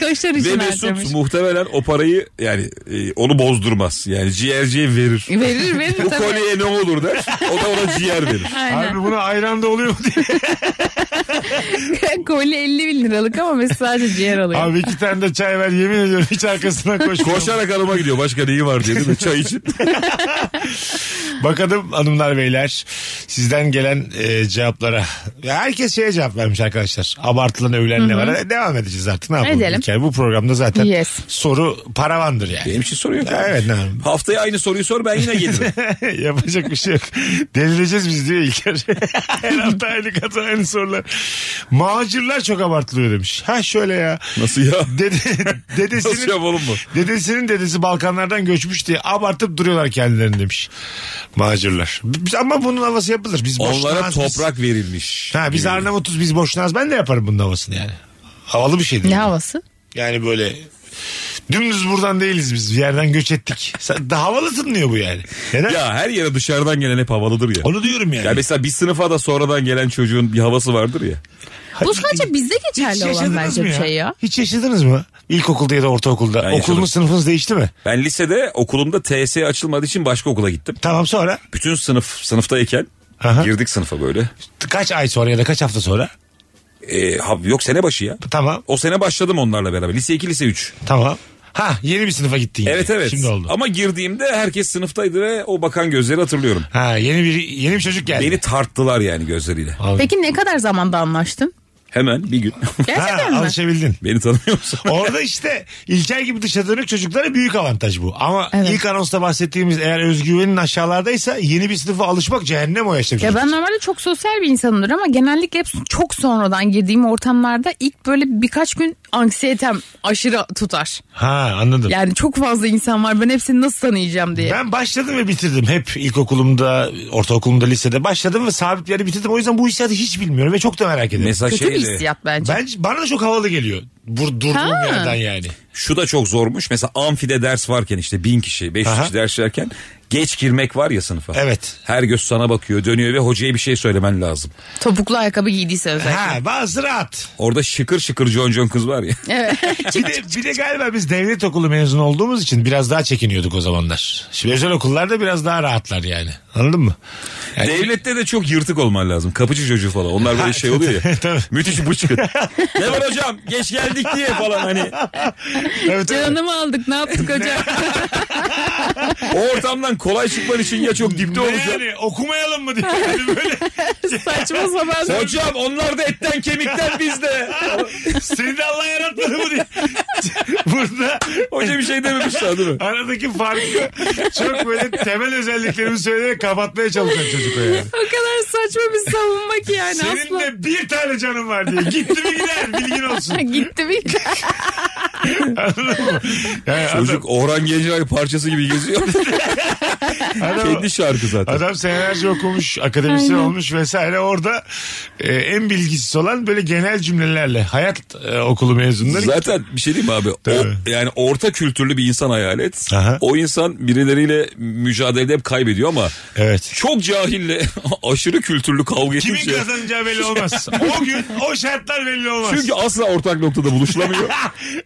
Speaker 5: Kaşar
Speaker 4: Ve
Speaker 5: için harcamış.
Speaker 4: Mesut muhtemelen o parayı yani e, onu bozdurmaz. Yani ciğerciye verir.
Speaker 5: Verir verir
Speaker 4: Bu
Speaker 5: tabii.
Speaker 4: kolyeye ne olur der. O da ona
Speaker 3: [LAUGHS]
Speaker 4: ciğer verir.
Speaker 5: Aynen.
Speaker 3: Abi buna ayran da oluyor mu diye.
Speaker 5: [LAUGHS] Kolye 50 bin liralık ama Mesut sadece ciğer alıyor.
Speaker 3: Abi iki tane de çay ver yemin ediyorum hiç arkasına koşmuyorum.
Speaker 4: Koşarak hanıma gidiyor. Başka neyi var diye değil mi? Çay için.
Speaker 3: Bakalım hanımlar beyler sizden gelen e, cevaplara. Ya Herkes şeye cevap vermiş arkadaşlar. Abartılan övülen ne var? E, Devam edeceğiz artık ne yapalım?
Speaker 5: Edelim.
Speaker 3: İlker? Bu programda zaten
Speaker 5: Yes.
Speaker 3: soru paravandır yani.
Speaker 4: Benim için soruyor.
Speaker 3: Evet ne yapalım?
Speaker 4: Haftaya aynı soruyu sor ben yine [LAUGHS]
Speaker 3: [LAUGHS]
Speaker 4: gelirim.
Speaker 3: Yapacak bir şey yok. Delireceğiz biz diyor
Speaker 4: [LAUGHS]
Speaker 3: İlker. Her hafta aynı kata aynı sorular. Macirler çok abartılıyor demiş. Ha şöyle ya.
Speaker 4: Nasıl ya? [LAUGHS]
Speaker 3: Dede,
Speaker 4: Nasıl
Speaker 3: dedesinin,
Speaker 4: Şey yapalım bu?
Speaker 3: dedesinin dedesi Balkanlardan göçmüş diye abartıp duruyorlar kendilerini demiş. Macirler. Biz- Ama bunun havası yapılır. Biz
Speaker 4: Onlara
Speaker 3: boşnağız biz.
Speaker 4: toprak verilmiş.
Speaker 3: Ha, biz Arnavutuz biz boşnağız. Ben de yaparım bunun havasını yani. Havalı bir şeydir.
Speaker 5: Ne havası?
Speaker 3: Yani böyle dümdüz buradan değiliz biz. Bir yerden göç ettik. Sen- Daha havalı tınlıyor bu yani. Neden?
Speaker 4: Ya her yere dışarıdan gelen hep havalıdır ya.
Speaker 3: Onu diyorum yani.
Speaker 4: Ya mesela bir sınıfa da sonradan gelen çocuğun bir havası vardır ya.
Speaker 5: Bu sadece bizde
Speaker 3: Hiç
Speaker 5: geçerli olan
Speaker 3: yaşadınız
Speaker 5: bence
Speaker 3: mı
Speaker 5: bir şey ya.
Speaker 3: Hiç yaşadınız mı? İlkokulda ya da ortaokulda.
Speaker 4: Ben yaşadım.
Speaker 3: Okulunuz sınıfınız değişti mi?
Speaker 4: Ben lisede okulumda TS açılmadığı için başka okula gittim.
Speaker 3: Tamam sonra.
Speaker 4: Bütün sınıf sınıftayken
Speaker 3: Aha.
Speaker 4: girdik sınıfa böyle.
Speaker 3: Kaç ay sonra ya da kaç hafta sonra?
Speaker 4: Ee, ha- yok sene başı ya.
Speaker 3: Tamam.
Speaker 4: O sene başladım onlarla beraber. Lise 2, lise 3.
Speaker 3: Tamam. Ha yeni bir sınıfa gittin. yine.
Speaker 4: Evet evet.
Speaker 3: Şimdi oldu.
Speaker 4: Ama girdiğimde herkes sınıftaydı ve o bakan gözleri hatırlıyorum.
Speaker 3: Ha yeni bir yeni bir çocuk geldi.
Speaker 4: Beni tarttılar yani gözleriyle.
Speaker 5: Peki ne kadar zamanda anlaştın?
Speaker 4: Hemen
Speaker 3: [LAUGHS]
Speaker 4: bir gün.
Speaker 3: ha,
Speaker 5: Gerçekten mi?
Speaker 3: alışabildin.
Speaker 4: Beni tanımıyor musun?
Speaker 3: Orada işte İlker gibi dışa dönük çocuklara büyük avantaj bu. Ama
Speaker 5: Evet.
Speaker 3: ilk anonsta bahsettiğimiz eğer özgüvenin aşağılardaysa yeni bir sınıfa alışmak cehennem o yaşta. bir
Speaker 5: Ya
Speaker 3: çocuk.
Speaker 5: ben normalde çok sosyal bir insanımdır ama genellikle hep çok sonradan girdiğim ortamlarda ilk böyle birkaç gün anksiyetem aşırı tutar.
Speaker 3: Ha anladım.
Speaker 5: Yani çok fazla insan var ben hepsini nasıl tanıyacağım diye.
Speaker 3: Ben başladım ve bitirdim. Hep ilkokulumda, ortaokulumda, lisede başladım ve sabit bir yere bitirdim. O yüzden bu hissiyatı hiç bilmiyorum ve çok da merak ediyorum.
Speaker 4: Mesela
Speaker 5: Kötü bir
Speaker 4: şeydi.
Speaker 5: hissiyat bence.
Speaker 3: Bence bana da çok havalı geliyor. Bur durduğum
Speaker 5: Ha.
Speaker 3: yerden yani.
Speaker 4: Şu da çok zormuş. Mesela amfide ders varken işte bin kişi, beş yüz
Speaker 3: Aha.
Speaker 4: kişi ders verken geç girmek var ya sınıfa.
Speaker 3: Evet.
Speaker 4: Her göz sana bakıyor, dönüyor ve hocaya bir şey söylemen lazım.
Speaker 5: Topuklu ayakkabı giydiyse özellikle.
Speaker 3: Ha bazı rahat.
Speaker 4: Orada şıkır şıkır John John kız var ya.
Speaker 3: Bir de, bir de galiba biz devlet okulu mezunu olduğumuz için biraz daha çekiniyorduk o zamanlar. Şimdi özel okullarda biraz daha rahatlar yani. Anladın mı? Yani-
Speaker 4: [LAUGHS] Devlette de çok yırtık olman lazım. Kapıcı çocuğu falan. Onlar böyle
Speaker 3: [LAUGHS]
Speaker 4: şey oluyor ya.
Speaker 3: Tabii. [LAUGHS]
Speaker 4: müthiş bıçkın. ne var hocam? Geç geldik diye falan hani.
Speaker 3: Tabii, tabii.
Speaker 5: Canımı aldık ne yaptık hocam?
Speaker 4: O ortamdan kolay çıkman için ya çok dipte
Speaker 3: Ne
Speaker 4: olacaksın.
Speaker 3: yani okumayalım mı diye. Hani böyle [LAUGHS]
Speaker 5: Saçma sapan.
Speaker 4: Hocam onlar da etten kemikten bizde.
Speaker 3: seni de Allah yaratmadı mı diye. [LAUGHS] Burada
Speaker 4: Hoca bir şey dememiş daha değil mi?
Speaker 3: aradaki farkı çok böyle temel özelliklerimi söyleyerek kapatmaya çalışan çocuk o yani.
Speaker 5: O kadar saçma bir savunma ki yani
Speaker 3: Senin
Speaker 5: asla.
Speaker 3: de bir tane canın var diye. Gitti mi gider bilgin olsun.
Speaker 5: [LAUGHS] Gitti bir
Speaker 3: Anladın mı? Yani [LAUGHS]
Speaker 4: Çocuk Orhan Gencebay parçası gibi geziyor.
Speaker 3: Adam-
Speaker 4: Kendi şarkı zaten.
Speaker 3: Adam senelerce okumuş, akademisyen olmuş vesaire. Orada e, en bilgisiz olan böyle genel cümlelerle hayat e, okulu mezunları.
Speaker 4: Zaten bir şey diyeyim mi abi? O,
Speaker 3: Tabii.
Speaker 4: yani orta kültürlü bir insan hayal et.
Speaker 3: Aha.
Speaker 4: O insan birileriyle mücadelede hep kaybediyor ama
Speaker 3: Evet.
Speaker 4: çok cahille [LAUGHS] aşırı kültürlü kavga etmiş.
Speaker 3: Kimin
Speaker 4: ya.
Speaker 3: kazanacağı
Speaker 4: [LAUGHS]
Speaker 3: belli olmaz. O gün o şartlar belli olmaz.
Speaker 4: Çünkü asla ortak noktada
Speaker 3: [LAUGHS]
Speaker 4: buluşulamıyor.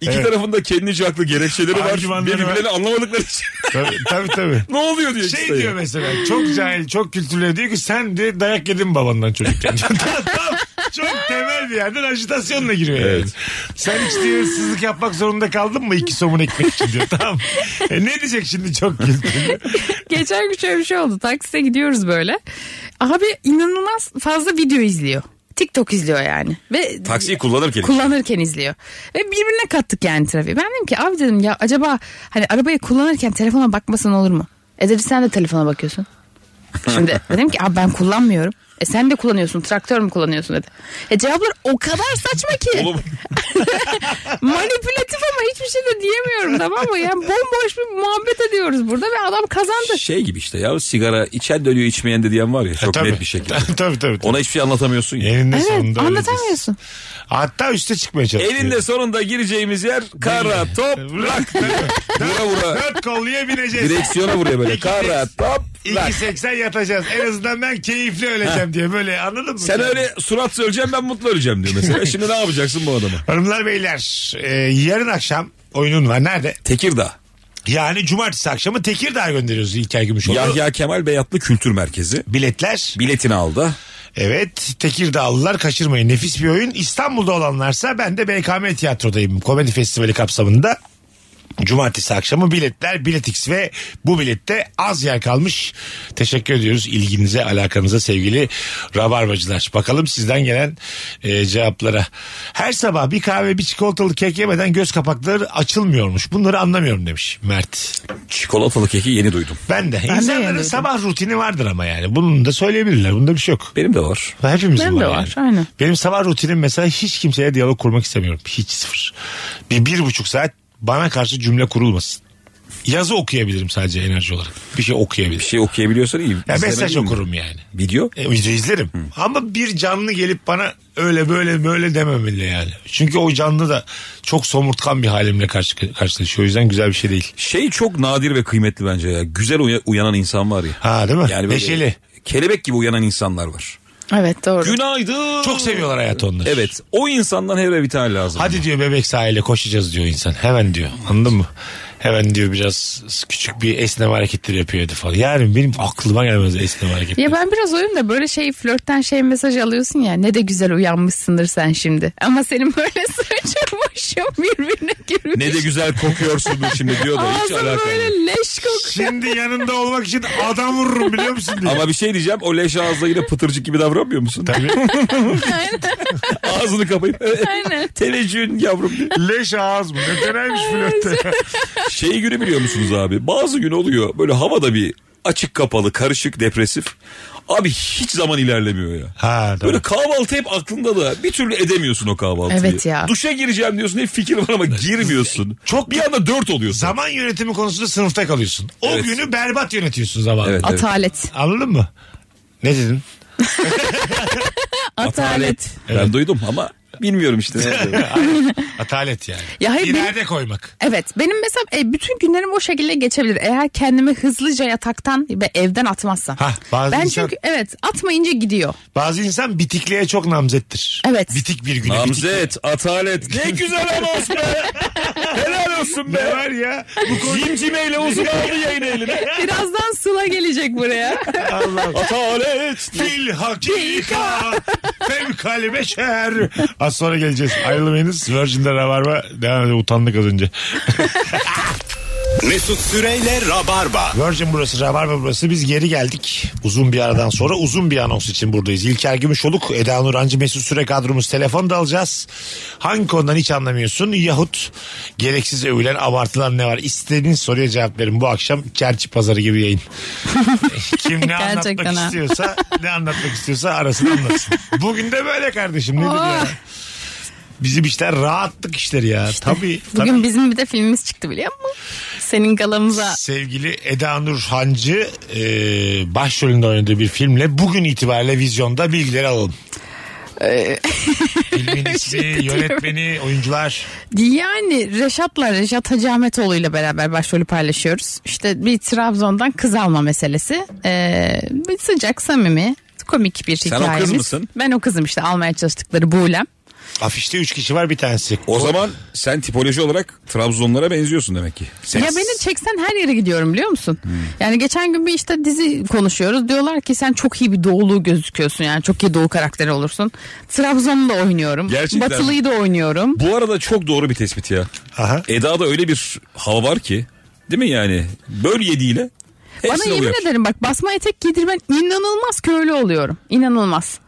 Speaker 4: İki
Speaker 3: Evet.
Speaker 4: tarafında kendince haklı gerekçeleri var.
Speaker 3: Argümanları var.
Speaker 4: Birbirlerini anlamadıkları için. [LAUGHS]
Speaker 3: tabii tabii. tabii.
Speaker 4: ne oluyor diyor.
Speaker 3: Şey
Speaker 4: işte ya.
Speaker 3: diyor
Speaker 4: [LAUGHS]
Speaker 3: mesela çok cahil çok kültürlü diyor ki sen de dayak yedin babandan
Speaker 4: [LAUGHS]
Speaker 3: çocukken. Tam- tam çok temel bir yerden ajitasyonla giriyor yani.
Speaker 4: Evet.
Speaker 3: Sen hiç diyor hırsızlık yapmak zorunda kaldın mı iki somun ekmek için
Speaker 4: [LAUGHS]
Speaker 3: diyor. Tamam. E ne diyecek şimdi çok kültürlü.
Speaker 5: Geçen gün şöyle bir şey oldu. Takside gidiyoruz böyle. Abi inanılmaz fazla video izliyor. TikTok izliyor yani. Ve
Speaker 4: Taksiyi kullanırken.
Speaker 5: kullanırken izliyor. Ve birbirine kattık yani trafiği. Ben dedim ki abi dedim ya acaba hani arabayı kullanırken telefona bakmasan olur mu? E dedi sen de telefona bakıyorsun. Şimdi dedim ki abi ben kullanmıyorum. E sen de kullanıyorsun traktör mü kullanıyorsun dedi. E cevaplar o kadar saçma ki.
Speaker 4: Oğlum
Speaker 5: [LAUGHS] Manipülatif ama hiçbir şey de diyemiyorum tamam mı? Yani bomboş bir muhabbet ediyoruz burada ve adam kazandı.
Speaker 4: şey gibi işte ya sigara içen dönüyor içmeyen de diyen var ya çok
Speaker 3: E, Tabii.
Speaker 4: net bir
Speaker 3: [LAUGHS]
Speaker 4: şekilde.
Speaker 3: tabii tabii. tabii.
Speaker 4: Ona hiçbir şey anlatamıyorsun ya.
Speaker 3: Eninde
Speaker 5: Evet
Speaker 3: sonunda öyle biz.
Speaker 5: anlatamıyorsun.
Speaker 3: Hatta üste çıkmaya çalışıyor.
Speaker 4: Elinde sonunda gireceğimiz yer kara
Speaker 3: E,
Speaker 4: toprak. [LAUGHS] vura vura.
Speaker 3: Dört kolluya bineceğiz.
Speaker 4: Direksiyona vuruyor böyle. Kara toprak.
Speaker 3: 2.80 yatacağız. En azından ben keyifli öleceğim diye böyle anladın mı?
Speaker 4: Sen öyle surat söyleyeceğim ben mutlu öleceğim diyor
Speaker 3: [LAUGHS]
Speaker 4: mesela. Şimdi ne yapacaksın bu adama?
Speaker 3: Hanımlar beyler e, yarın akşam oyunun var. Nerede?
Speaker 4: Tekirdağ.
Speaker 3: Yani cumartesi akşamı Tekirdağ gönderiyoruz İlker Gümüşoğlu.
Speaker 4: Yahya Kemal Beyatlı Kültür Merkezi.
Speaker 3: Biletler.
Speaker 4: Biletini aldı.
Speaker 3: Evet Tekirdağlılar kaçırmayın. Nefis bir oyun. İstanbul'da olanlarsa ben de BKM Tiyatro'dayım. Komedi Festivali kapsamında. Cumartesi akşamı biletler Biletix ve bu bilette az yer kalmış. Teşekkür ediyoruz ilginize alakanıza sevgili rabarbacılar. Bakalım sizden gelen e, cevaplara. Her sabah bir kahve bir çikolatalı kek yemeden göz kapakları açılmıyormuş. Bunları anlamıyorum demiş Mert.
Speaker 4: Çikolatalı keki yeni duydum.
Speaker 3: Ben de.
Speaker 5: de
Speaker 3: İnsanların
Speaker 5: yemedim.
Speaker 3: sabah rutini vardır ama yani. Bunun da söyleyebilirler. Bunda bir şey yok.
Speaker 4: Benim de var.
Speaker 3: Hepimizin
Speaker 5: Benim
Speaker 3: var.
Speaker 5: de
Speaker 3: yani.
Speaker 5: var, aynen.
Speaker 3: Benim sabah rutinim mesela hiç kimseye diyalog kurmak istemiyorum. Hiç sıfır. Bir, bir buçuk saat bana karşı cümle kurulmasın. Yazı okuyabilirim sadece enerji olarak. Bir şey okuyabilirim.
Speaker 4: Bir şey okuyabiliyorsan iyi.
Speaker 3: ya
Speaker 4: İzlemen
Speaker 3: mesaj
Speaker 4: iyi mi?
Speaker 3: okurum yani.
Speaker 4: Video.
Speaker 3: E, video izlerim. Ama bir canlı gelip bana öyle böyle böyle dememeli yani. Çünkü o canlı da çok somurtkan bir halimle karşı, karşılaşıyor. O yüzden güzel bir şey değil.
Speaker 4: Şey çok nadir ve kıymetli bence ya. Güzel uya- uyanan insan var ya.
Speaker 3: [LAUGHS] Ha değil mi?
Speaker 4: Yani böyle
Speaker 3: Neşeli.
Speaker 4: Kelebek gibi uyanan insanlar var.
Speaker 5: Evet doğru.
Speaker 4: Günaydın.
Speaker 3: Çok seviyorlar hayatı onları.
Speaker 4: Evet. O insandan her bir tane lazım.
Speaker 3: Hadi diyor bebek sahile koşacağız diyor insan. Hemen diyor. Anladın mı? Hemen diyor biraz küçük bir esneme hareketleri yapıyordu falan. Yani benim aklıma gelmez esneme hareketleri.
Speaker 5: Ya ben biraz oyum da böyle şey flörtten şey mesaj alıyorsun ya ne de güzel uyanmışsındır sen şimdi. Ama senin böyle [LAUGHS] saçın başın birbirine girmiş.
Speaker 4: Ne de güzel kokuyorsun şimdi diyor da hiç
Speaker 5: Ağzın
Speaker 4: alakalı. yok.
Speaker 5: böyle leş kokuyor.
Speaker 3: [LAUGHS] Şimdi yanında olmak için adam vururum biliyor musun diyor.
Speaker 4: Ama bir şey diyeceğim o leş ağızla yine pıtırcık gibi davranmıyor musun?
Speaker 3: Tabii.
Speaker 4: Ağzını kapayıp
Speaker 5: Aynen.
Speaker 4: televizyon yavrum. diye.
Speaker 3: Leş ağız mı? Ne deneymiş flörtte.
Speaker 4: Şey günü biliyor musunuz abi? Bazı gün oluyor böyle havada bir açık kapalı karışık depresif. Abi hiç zaman ilerlemiyor ya.
Speaker 3: ha
Speaker 4: Böyle
Speaker 3: doğru.
Speaker 4: kahvaltı hep aklında da bir türlü edemiyorsun o kahvaltıyı.
Speaker 5: Evet ya.
Speaker 4: Duşa gireceğim diyorsun hep fikir var ama girmiyorsun.
Speaker 3: Çok-
Speaker 4: bir anda dört oluyorsun.
Speaker 3: Zaman yönetimi konusunda sınıfta kalıyorsun. O
Speaker 4: Evet.
Speaker 3: günü berbat yönetiyorsun zamanı.
Speaker 4: Evet, evet.
Speaker 5: Atalet.
Speaker 3: Anladın mı? Ne dedin?
Speaker 5: Atalet.
Speaker 4: Ben duydum ama
Speaker 3: [LAUGHS]
Speaker 4: bilmiyorum işte.
Speaker 3: Atalet yani.
Speaker 5: Ya hayır,
Speaker 3: İleride koymak.
Speaker 5: Evet benim mesela e, bütün günlerim o şekilde geçebilir. Eğer kendimi hızlıca yataktan ve evden atmazsam.
Speaker 3: Hah, bazı
Speaker 5: ben
Speaker 3: insan-
Speaker 5: çünkü evet atmayınca gidiyor.
Speaker 3: Bazı insan bitikliğe çok namzettir.
Speaker 5: Evet.
Speaker 3: Bitik bir güne. bitik
Speaker 4: Namzet, atalet. Ne güzel anons be. Helal olsun
Speaker 3: Ne
Speaker 4: be.
Speaker 3: var ya? Bu konu
Speaker 4: Cimcimeyle uzun aldı yayın eline.
Speaker 5: Birazdan Sıla gelecek buraya.
Speaker 4: Atalet.
Speaker 3: fil hakika fevkal beşer. Az sonra geleceğiz. Ayrılmayınız. Virgin'de Rabarba devam ediyor. Utandık az önce.
Speaker 2: Mesut Süreyle Rabarba.
Speaker 3: Virgin burası, Rabarba burası. Biz geri geldik. Uzun bir aradan sonra uzun bir anons için buradayız. İlker Gümüşoluk, Eda Nurancı, Mesut Süre kadromuz. Telefon da alacağız. Hangi konudan hiç anlamıyorsun? Yahut gereksiz övülen, abartılan ne var? İstediğin soruya cevap verin. Bu akşam çerçi pazarı gibi
Speaker 5: [LAUGHS]
Speaker 3: yayın. Kim ne anlatmak
Speaker 5: Gerçekten ha.
Speaker 3: istiyorsa, ne anlatmak istiyorsa arasını anlatsın. Bugün de böyle kardeşim.
Speaker 5: Oh.
Speaker 3: Nedir ya? Bizim işler rahatlık işleri ya. tabii. tabii.
Speaker 5: Bugün bizim bir de filmimiz çıktı biliyor musun? Senin galamıza.
Speaker 3: Sevgili Eda Nur Hancı e, başrolünde oynadığı bir filmle bugün itibariyle vizyonda bilgileri alalım. [LAUGHS] Filmin ismi, yönetmeni, oyuncular.
Speaker 5: Yani Reşat'la Reşat Hacı Ahmetoğlu ile beraber başrolü paylaşıyoruz. İşte bir Trabzon'dan kız alma meselesi. Ee, bir sıcak, samimi, komik bir
Speaker 4: o kız
Speaker 5: hikayemiz.
Speaker 4: mısın?
Speaker 5: Ben o kızım işte almaya çalıştıkları Buğlem.
Speaker 3: Afişte 3 kişi var bir tanesi.
Speaker 4: O zaman sen tipoloji olarak Trabzonlara benziyorsun demek ki. Sen-
Speaker 5: Ya beni çeksen her yere gidiyorum biliyor musun?
Speaker 4: Hmm.
Speaker 5: Yani geçen gün bir işte dizi konuşuyoruz. Diyorlar ki sen çok iyi bir doğulu gözüküyorsun. Yani çok iyi doğu karakteri olursun. Trabzon'u da oynuyorum.
Speaker 4: Gerçekten mi?
Speaker 5: Batılı'yı da oynuyorum.
Speaker 4: Bu arada çok doğru bir tespit ya.
Speaker 3: Aha.
Speaker 4: Eda'da öyle bir hava var ki değil mi yani? Böl yediğiyle
Speaker 5: Bana
Speaker 4: hepsine
Speaker 5: yemin
Speaker 4: uyar.
Speaker 5: ederim bak basma etek giydirmen inanılmaz köylü oluyorum. İnanılmaz.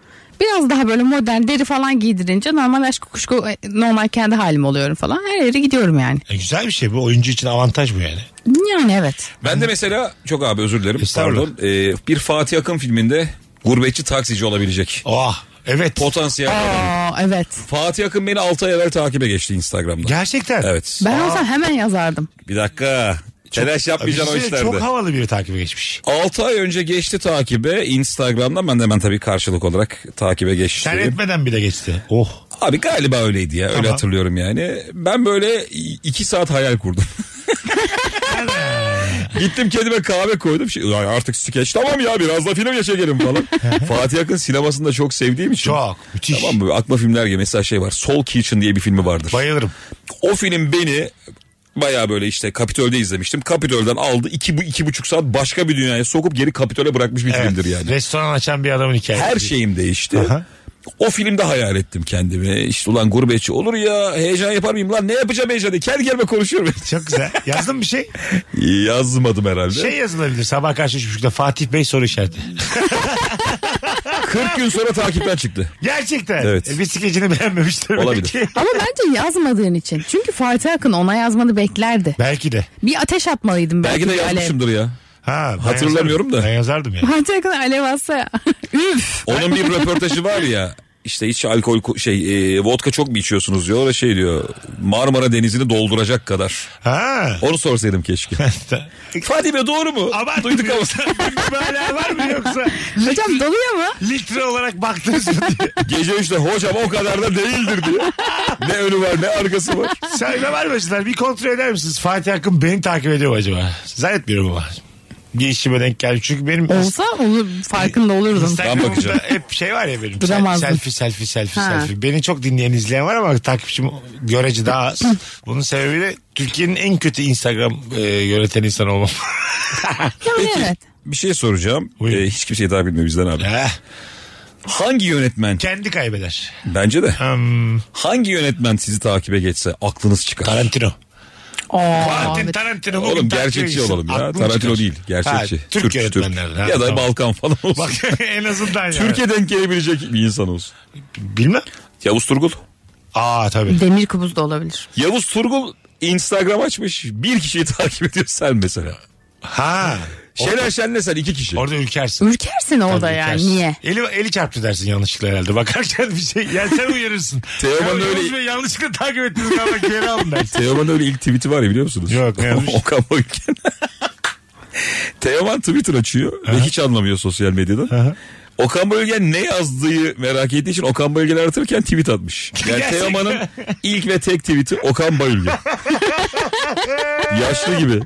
Speaker 5: Biraz daha böyle modern deri falan giydirince normal aşk kuşku e, normal kendi halim oluyorum falan. Her yere gidiyorum yani.
Speaker 3: E, güzel bir şey bu. Oyuncu için avantaj bu yani.
Speaker 5: Yani evet.
Speaker 4: Ben de mesela çok abi özür dilerim
Speaker 3: Estağfurullah.
Speaker 4: pardon. Ee, bir Fatih Akın filminde gurbetçi taksici olabilecek.
Speaker 3: Oh, evet.
Speaker 4: Potansiyel.
Speaker 5: Aa evet.
Speaker 4: Fatih Akın beni 6 ay evvel takibe geçti Instagram'da.
Speaker 3: Gerçekten.
Speaker 4: Evet.
Speaker 5: Ben olsam hemen yazardım.
Speaker 4: Bir dakika. Telaş yapmayacaksın o
Speaker 3: Bizi
Speaker 4: işlerde.
Speaker 3: Çok havalı bir takibe geçmiş.
Speaker 4: 6 ay önce geçti takibe Instagram'dan ben de hemen tabii karşılık olarak takibe geçtim.
Speaker 3: Sen etmeden bile geçti. Oh.
Speaker 4: Abi galiba öyleydi ya öyle
Speaker 3: Tamam.
Speaker 4: hatırlıyorum yani. Ben böyle 2 saat hayal kurdum. [LAUGHS] Gittim kendime kahve koydum. Şey, "Ulan artık skeç tamam ya biraz da filme
Speaker 3: [LAUGHS]
Speaker 4: çekelim falan. Fatih Akın sinemasını da çok sevdiğim için.
Speaker 3: Çok. Müthiş.
Speaker 4: Tamam mı? Akma filmler gibi mesela şey var. Soul Kitchen diye bir filmi vardır.
Speaker 3: Bayılırım.
Speaker 4: O film beni baya böyle işte Kapitol'de izlemiştim. Kapitol'den aldı iki, bu- iki buçuk saat başka bir dünyaya sokup geri Kapitol'e bırakmış bir
Speaker 3: Evet.
Speaker 4: filmdir yani.
Speaker 3: Restoran açan bir adamın hikayesi.
Speaker 4: Her şey- şeyim değişti.
Speaker 3: Aha.
Speaker 4: O filmde hayal ettim kendimi. İşte ulan gurbetçi olur ya heyecan yapar mıyım lan ne yapacağım heyecanı kel gelme konuşuyorum. [LAUGHS]
Speaker 3: Çok güzel. Yazdın bir şey.
Speaker 4: Yazmadım herhalde.
Speaker 3: Şey yazılabilir. Sabah karşı üç buçukta Fatih Bey soru işareti.
Speaker 4: 40 gün sonra
Speaker 3: [LAUGHS]
Speaker 4: takipten çıktı.
Speaker 3: Gerçekten.
Speaker 4: Evet.
Speaker 3: E, bir skecini beğenmemiş demek
Speaker 4: Olabilir.
Speaker 3: ki.
Speaker 5: Ama bence yazmadığın için. Çünkü Fatih Akın ona yazmanı beklerdi.
Speaker 3: [LAUGHS] Belki de.
Speaker 5: Bir ateş atmalıydım belki.
Speaker 4: Belki de
Speaker 5: bir alev.
Speaker 4: yazmışımdır ya.
Speaker 3: Ha, ben
Speaker 4: Hatırlamıyorum
Speaker 3: yazardım.
Speaker 4: da.
Speaker 3: Ben yazardım yani.
Speaker 5: [LAUGHS] Fatih Akın alev atsa [LAUGHS] ya. Üf.
Speaker 4: Onun bir röportajı var ya. işte hiç alkol ku- şey e, vodka çok mu içiyorsunuz diyor. O da şey diyor Marmara Denizi'ni dolduracak kadar.
Speaker 3: Ha. [LAUGHS]
Speaker 4: Onu sorsaydım keşşke. Fatih Bey doğru mu?
Speaker 3: Ama
Speaker 4: Duyduk ama.
Speaker 3: [LAUGHS] Böyle var mı yoksa?
Speaker 5: Hocam doluyor mu?
Speaker 3: Litre olarak baktınız mı diye. [LAUGHS]
Speaker 4: Gece üçte hocam o kadar da değildir diyor. ne önü var ne arkası var.
Speaker 3: Söyle var başlar. Bir kontrol eder misiniz? Fatih Akın beni takip ediyor mu acaba? Zannetmiyorum ama. Bir işime denk geldi. Çünkü benim
Speaker 5: Olsa olur farkında olurdum.
Speaker 4: Ben bakacağım.
Speaker 3: Instagram'da hep şey var ya benim.
Speaker 5: Duramazdım.
Speaker 3: Selfie selfie selfie
Speaker 5: Ha.
Speaker 3: selfie. Beni çok dinleyen izleyen var ama takipçim görece daha az. Bunun sebebiyle Türkiye'nin en kötü Instagram e, yöneten insan
Speaker 5: [LAUGHS]
Speaker 3: olmam.
Speaker 5: Yani evet.
Speaker 4: Bir şey soracağım.
Speaker 3: Buyurun.
Speaker 4: Ee, hiç kimse daha bilmiyor bizden abi.
Speaker 3: Heh,
Speaker 4: Hangi yönetmen?
Speaker 3: Kendi kaybeder.
Speaker 4: Bence de.
Speaker 3: Hmm,
Speaker 4: Hangi yönetmen sizi takibe geçse aklınız çıkar?
Speaker 3: Tarantino.
Speaker 5: Aa,
Speaker 3: Tarantino,
Speaker 5: evet.
Speaker 3: Tarantino. bugün
Speaker 4: Oğlum
Speaker 3: takip
Speaker 4: gerçekçi
Speaker 3: edilsin.
Speaker 4: olalım ya.
Speaker 3: Aklım
Speaker 4: Tarantino
Speaker 3: çıkar.
Speaker 4: değil. Gerçekçi.
Speaker 3: Ha, Türk, yönetmenlerden. ha,
Speaker 4: Ya da
Speaker 3: tamam.
Speaker 4: Balkan falan olsun. [LAUGHS]
Speaker 3: Bak [LAUGHS] en azından yani.
Speaker 4: Türkiye denk gelebilecek bir insan olsun.
Speaker 3: Bilmem.
Speaker 4: Yavuz Turgul.
Speaker 3: Aa tabii.
Speaker 5: Demir kubuz da olabilir.
Speaker 4: Yavuz Turgul Instagram açmış. Bir kişiyi takip ediyor sen mesela.
Speaker 3: Ha.
Speaker 4: Şener Şen'le sen iki kişi.
Speaker 3: Orada ülkersin.
Speaker 5: Ürkersin orada
Speaker 3: Tabii
Speaker 5: yani
Speaker 3: ülkersin.
Speaker 5: niye?
Speaker 3: Eli, eli çarptı dersin yanlışlıkla herhalde. Bakarken bir şey. Yani sen uyarırsın.
Speaker 4: Teoman
Speaker 3: Ya,
Speaker 4: öyle-
Speaker 3: Yavuz Bey yanlışlıkla takip ettiniz galiba geri alın
Speaker 5: [LAUGHS]
Speaker 3: dersin.
Speaker 4: Teoman'ın öyle ilk tweet'i var ya biliyor musunuz?
Speaker 3: Yok, ne yazmış?
Speaker 4: [LAUGHS] Okan Boyken. Teoman Twitter açıyor ve hiç anlamıyor sosyal medyada. Okan Bölgen ne yazdığı merak ettiği için Okan Bölgen'i aratırken
Speaker 3: [LAUGHS]
Speaker 4: tweet atmış. Yani
Speaker 3: Gerçekten.
Speaker 4: Teoman'ın ilk ve tek tweet'i
Speaker 3: [LAUGHS]
Speaker 4: Okan Bölgen. Yaşlı gibi.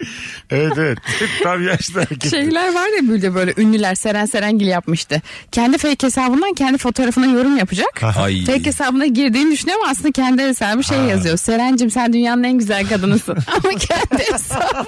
Speaker 3: Evet evet. Tam yaşlı erkek.
Speaker 5: Şeyler var ya böyle böyle ünlüler Seren Serengil yapmıştı. Kendi fake hesabından kendi fotoğrafına yorum yapacak.
Speaker 4: Ay.
Speaker 5: Fake hesabına girdiğini düşünüyor ama aslında kendi hesabı şey yazıyor. Serencim sen dünyanın en güzel kadınısın. [LAUGHS] ama kendi hesabı.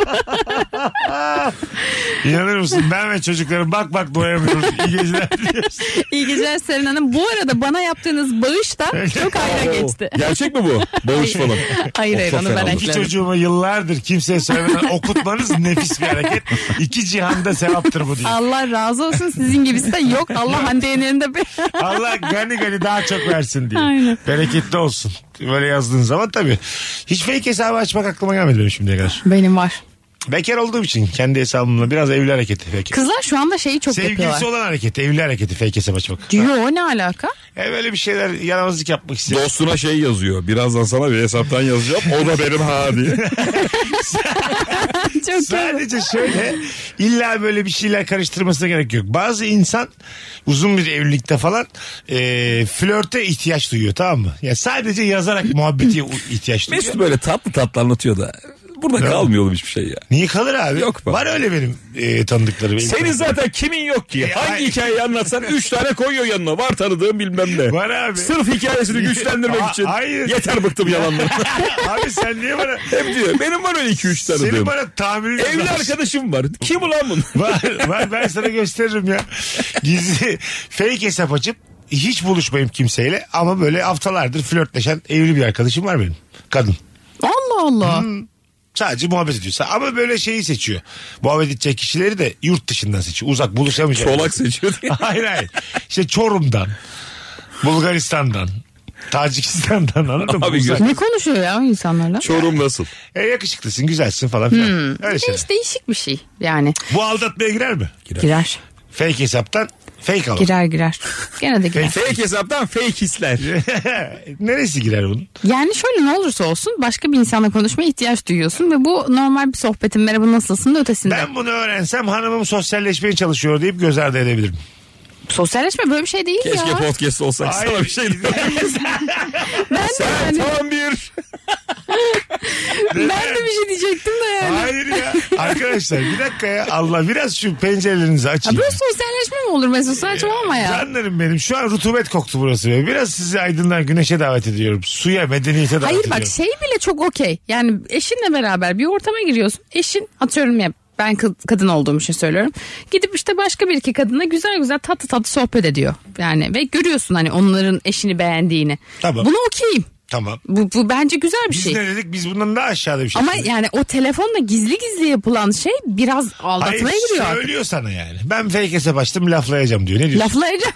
Speaker 3: İnanır mısın? Ben ve çocuklarım bak bak doyamıyoruz. İyi geceler diliyoruz.
Speaker 5: İyi geceler Seren Hanım. Bu arada bana yaptığınız bağış da çok
Speaker 4: [LAUGHS]
Speaker 5: ayrı geçti.
Speaker 4: Gerçek mi bu? Bağış falan.
Speaker 5: Hayır
Speaker 4: Of,
Speaker 5: hayır
Speaker 4: çok
Speaker 5: onu
Speaker 4: fena
Speaker 5: ben
Speaker 4: oldu.
Speaker 3: İki
Speaker 5: ekledim.
Speaker 3: çocuğumu yıllardır kimseye söylemeden okutmanız nefis bir hareket. İki cihanda sevaptır bu diye.
Speaker 5: Allah razı olsun sizin gibisi de yok. Allah Hande Yener'in de bir...
Speaker 3: Allah gani gani daha çok versin diye.
Speaker 5: Aynen.
Speaker 3: Bereketli olsun. Böyle yazdığın zaman tabii. Hiç fake hesabı açmak aklıma gelmedi benim şimdiye kadar.
Speaker 5: Benim var.
Speaker 3: Bekar olduğum için kendi hesabımla biraz evli hareketi fake.
Speaker 5: Kızlar şu anda şeyi çok
Speaker 3: Sevgilisi
Speaker 5: yapıyorlar.
Speaker 3: olan hareketi, evli hareketi fake hesap açmak.
Speaker 5: Yo ne alaka?
Speaker 3: E böyle bir şeyler yaramazlık yapmak istiyor.
Speaker 4: Dostuna şey yazıyor. Birazdan sana bir hesaptan yazacağım. O da benim ha diye.
Speaker 5: çok
Speaker 3: Sadece şöyle illa böyle bir şeyler karıştırmasına gerek yok. Bazı insan uzun bir evlilikte falan e, flörte ihtiyaç duyuyor tamam mı? Ya sadece yazarak muhabbeti ihtiyaç duyuyor.
Speaker 4: Mesut böyle tatlı tatlı anlatıyor da. Burada kalmıyor oğlum hiçbir şey ya.
Speaker 3: Niye kalır abi?
Speaker 4: Yok be.
Speaker 3: Var öyle benim e, tanıdıklarım.
Speaker 4: Senin
Speaker 3: Benim-
Speaker 4: zaten kimin yok ki? Hangi
Speaker 3: ay-
Speaker 4: hikayeyi anlatsan 3 tane koyuyor yanına. Var tanıdığım bilmem ne.
Speaker 3: Var abi.
Speaker 4: Sırf hikayesini güçlendirmek
Speaker 3: Aa,
Speaker 4: için.
Speaker 3: hayır.
Speaker 4: Yeter bıktım yalanları.
Speaker 3: [LAUGHS] abi sen niye bana...
Speaker 4: Hep diyor benim var öyle 2-3
Speaker 3: Senin
Speaker 4: tanıdığım.
Speaker 3: bana tahminin
Speaker 4: Evli
Speaker 3: var.
Speaker 4: arkadaşım var. Kim ulan bunun?
Speaker 3: [LAUGHS] var, var ben sana gösteririm ya. Gizli fake hesap açıp hiç buluşmayayım kimseyle ama böyle haftalardır flörtleşen evli bir arkadaşım var benim. Kadın.
Speaker 5: Allah Allah.
Speaker 3: Sadece muhabbet ediyorsa ama böyle şeyi seçiyor. Muhabbet edecek kişileri de yurt dışından seçiyor. Uzak buluşamayacak.
Speaker 4: Solak seçiyor
Speaker 3: [LAUGHS]
Speaker 4: diye.
Speaker 3: hayır hayır. İşte Çorum'dan, Bulgaristan'dan, Tacikistan'dan anladın mı?
Speaker 4: Abi
Speaker 3: Uzak.
Speaker 4: gö-
Speaker 5: Ne konuşuyor ya insanlarla?
Speaker 4: Çorum nasıl?
Speaker 3: E, yakışıklısın, güzelsin falan filan. Öyle
Speaker 5: E
Speaker 3: şeyler.
Speaker 5: işte değişik bir şey yani.
Speaker 3: Bu aldatmaya girer mi?
Speaker 5: Girer.
Speaker 3: Fake hesaptan fake alalım.
Speaker 5: Girer girer. Gene de girer.
Speaker 4: Fake hesaptan fake hisler.
Speaker 3: [LAUGHS] Neresi girer bunun?
Speaker 5: Yani şöyle ne olursa olsun başka bir insanla konuşmaya ihtiyaç duyuyorsun ve bu normal bir sohbetin merhaba nasılsın da ötesinde.
Speaker 3: Ben bunu öğrensem hanımım sosyalleşmeye çalışıyor deyip göz ardı edebilirim.
Speaker 5: Sosyalleşme böyle bir şey değil
Speaker 4: Keşke
Speaker 5: ya.
Speaker 4: podcast olsak
Speaker 3: Ay.
Speaker 4: sana bir şey
Speaker 5: Ben de, yani,
Speaker 4: Tam bir.
Speaker 5: ben de bir şey diyecektim de yani.
Speaker 3: [LAUGHS] Hayır ya. Arkadaşlar bir dakika ya. Allah biraz şu pencerelerinizi
Speaker 5: Ya
Speaker 3: açın.
Speaker 5: böyle sosyalleşme mi olur Mesut? Saçmalama ya.
Speaker 3: Canlarım benim şu an rutubet koktu burası. Be. Biraz sizi aydınlığa güneşe davet ediyorum. Suya medeniyete davet
Speaker 5: Hayır
Speaker 3: ediyorum.
Speaker 5: bak şey bile çok okey. Yani eşinle beraber bir ortama giriyorsun. Eşin atıyorum ya ben kı- kadın olduğum için söylüyorum. Gidip işte başka bir iki kadına güzel güzel tatlı tatlı sohbet ediyor. Yani ve görüyorsun hani onların eşini beğendiğini.
Speaker 3: Tamam.
Speaker 5: Bunu okeyim.
Speaker 3: Tamam.
Speaker 5: Bu, bu bence güzel bir
Speaker 3: Biz
Speaker 5: şey.
Speaker 3: ne dedik? Biz bundan daha aşağıda bir şey.
Speaker 5: Ama
Speaker 3: söyledik.
Speaker 5: yani o telefonla gizli gizli yapılan şey biraz aldatmaya
Speaker 3: Hayır
Speaker 5: giriyor. artık.
Speaker 3: söylüyor sana yani. Ben fake hesap açtım laflayacağım diyor. Ne diyorsun?
Speaker 5: Lafla edeceğim.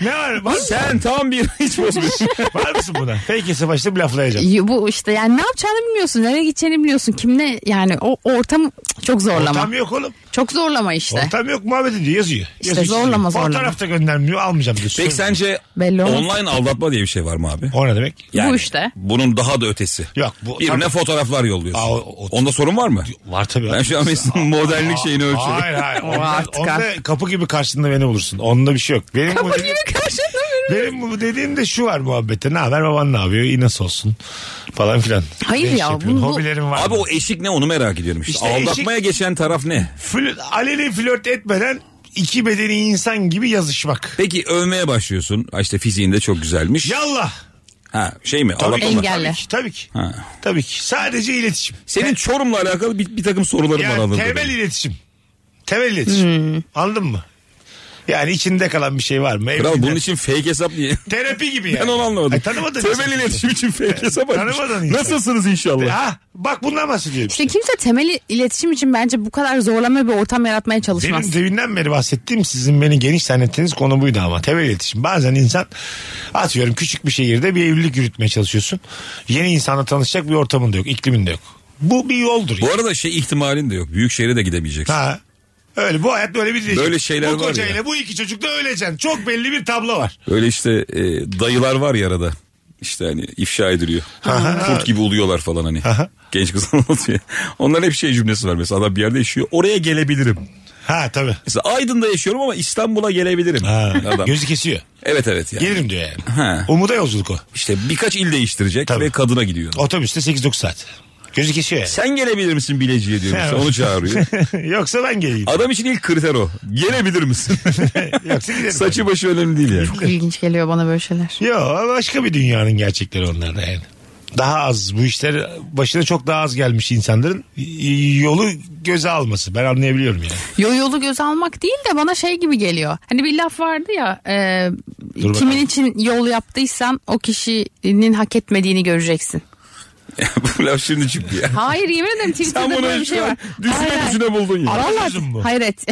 Speaker 3: Ne var? Var,
Speaker 4: Sen tam bir [LAUGHS] hiç bozmuş.
Speaker 3: var mısın buna? Fake hesap açtım laflayacağım.
Speaker 5: bu işte yani ne yapacağını bilmiyorsun. Nereye gideceğini bilmiyorsun. Kimle yani o ortam çok zorlama.
Speaker 3: Ortam yok oğlum.
Speaker 5: Çok zorlama işte.
Speaker 3: Ortam yok muhabbet ediyor yazıyor.
Speaker 5: İşte
Speaker 3: Yazıyor, çiziyor.
Speaker 5: zorlama, zorlama.
Speaker 3: Fotoğrafta göndermiyor almayacağım diyor.
Speaker 4: Peki sence
Speaker 5: Belli olmaz.
Speaker 4: online aldatma diye bir şey var mı abi?
Speaker 3: O ne demek?
Speaker 5: Bu işte.
Speaker 4: Bunun daha da ötesi.
Speaker 3: Yok, bu-
Speaker 4: Birine
Speaker 3: tabii.
Speaker 4: fotoğraflar yolluyorsun.
Speaker 3: Aa, o- o-
Speaker 4: Onda sorun var mı?
Speaker 3: Var tabii.
Speaker 4: Ben şu an Mesut'un modellik şeyini ölçüyorum.
Speaker 3: Hayır hayır.
Speaker 5: [LAUGHS] O
Speaker 3: Onda,
Speaker 5: artık
Speaker 3: onda kapı gibi karşında beni bulursun. Onda bir şey yok. Benim bu dediğim,
Speaker 5: Karşında
Speaker 3: benim bu dediğim de şu var muhabbette. Ne haber baban ne yapıyor? İyi nasıl olsun? Falan filan.
Speaker 5: Hayır
Speaker 3: Ne iş
Speaker 5: ya,
Speaker 3: yapıyorsun?
Speaker 5: bu- bu-
Speaker 3: Hobilerin var.
Speaker 4: Abi
Speaker 3: mı?
Speaker 4: o eşik ne onu merak ediyorum işte.
Speaker 3: İşte
Speaker 4: Aldatmaya geçen taraf ne?
Speaker 3: Flört, aleni flört etmeden iki medeni insan gibi yazışmak.
Speaker 4: Peki övmeye başlıyorsun. Ha işte fiziğinde çok güzelmiş.
Speaker 3: Yallah.
Speaker 4: Ha şey mi? Aldatma. mı?
Speaker 5: Engel.
Speaker 3: Tabii
Speaker 5: Engelle.
Speaker 3: ki. Tabii ki.
Speaker 4: Ha.
Speaker 3: Tabii ki. Sadece iletişim.
Speaker 4: Senin Çorum'la alakalı bir, bir takım sorularım var
Speaker 3: Yani
Speaker 4: anladın
Speaker 3: temel
Speaker 4: mı?
Speaker 3: iletişim. Temel iletişim. Anladın mı? Yani içinde kalan bir şey var mı?
Speaker 4: Kral
Speaker 3: Evliliğe-
Speaker 4: bunun için fake hesap diye.
Speaker 3: Terapi gibi yani.
Speaker 4: Ben onu anlamadım.
Speaker 3: Ay, tanımadın
Speaker 4: Temel
Speaker 3: insan.
Speaker 4: iletişim için fake hesap açmış.
Speaker 3: Tanımadın şey. insan.
Speaker 4: Nasılsınız inşallah?
Speaker 3: Ha, bak bundan bahsediyorum.
Speaker 5: İşte kimse temel iletişim için bence bu kadar zorlama bir ortam yaratmaya çalışmaz.
Speaker 3: Benim deminden beri bahsettiğim sizin beni geniş zannettiğiniz konu buydu ama temel iletişim. Bazen insan atıyorum küçük bir şehirde bir evlilik yürütmeye çalışıyorsun. Yeni insanla tanışacak bir ortamın da yok, iklimin de yok. Bu bir yoldur.
Speaker 4: Bu
Speaker 3: yani.
Speaker 4: arada şey ihtimalin de yok. Büyük şehre de gidemeyeceksin.
Speaker 3: Ha. Öyle bu hayat böyle bir diyecek.
Speaker 4: Böyle şeyler
Speaker 3: bu
Speaker 4: var
Speaker 3: kocayla
Speaker 4: ya.
Speaker 3: bu iki çocukla öleceksin. Çok belli bir tablo var.
Speaker 4: Böyle işte e, dayılar var ya arada. İşte hani ifşa ediliyor. Kurt gibi oluyorlar falan hani. Genç kız [LAUGHS] anlatıyor. Onların hep şey cümlesi var mesela. Adam bir yerde yaşıyor. Oraya gelebilirim.
Speaker 3: Ha tabii.
Speaker 4: Mesela Aydın'da yaşıyorum ama İstanbul'a gelebilirim.
Speaker 3: Ha,
Speaker 4: Adam.
Speaker 3: gözü kesiyor.
Speaker 4: Evet evet yani.
Speaker 3: Gelirim diyor yani.
Speaker 4: Ha.
Speaker 3: Umuda yolculuk o.
Speaker 4: İşte birkaç il değiştirecek
Speaker 3: Tabii.
Speaker 4: ve kadına gidiyor.
Speaker 3: Otobüste 8-9 saat. Gözü kesiyor yani.
Speaker 4: Sen gelebilir misin Bileci'ye diyor mesela.
Speaker 3: [LAUGHS]
Speaker 4: Onu çağırıyor.
Speaker 3: Yoksa ben geleyim.
Speaker 4: Adam için ilk kriter o. Gelebilir misin?
Speaker 3: [LAUGHS] Yoksa giderim.
Speaker 4: Saçı başı önemli değil yani. [LAUGHS]
Speaker 5: Çok ilginç geliyor bana böyle şeyler.
Speaker 3: Yo başka bir dünyanın gerçekleri onlar da yani. Daha az bu işler başına çok daha az gelmiş insanların y- yolu göze alması. Ben anlayabiliyorum yani.
Speaker 5: Yo yolu göz almak değil de bana şey gibi geliyor. Hani bir laf vardı ya e, kimin
Speaker 3: bakalım.
Speaker 5: için yol yaptıysan o kişinin hak etmediğini göreceksin.
Speaker 4: Bu laf şimdi çıktı ya.
Speaker 5: Hayır yemin ederim
Speaker 4: Sen
Speaker 5: Twitter'da
Speaker 4: bunu
Speaker 5: böyle bir şey
Speaker 4: şu
Speaker 5: var.
Speaker 4: an düşüne
Speaker 5: Hayır,
Speaker 4: düşüne buldun ya.
Speaker 5: hayır. [LAUGHS]
Speaker 3: Atasözü mü bu?
Speaker 5: Vallahi hayret.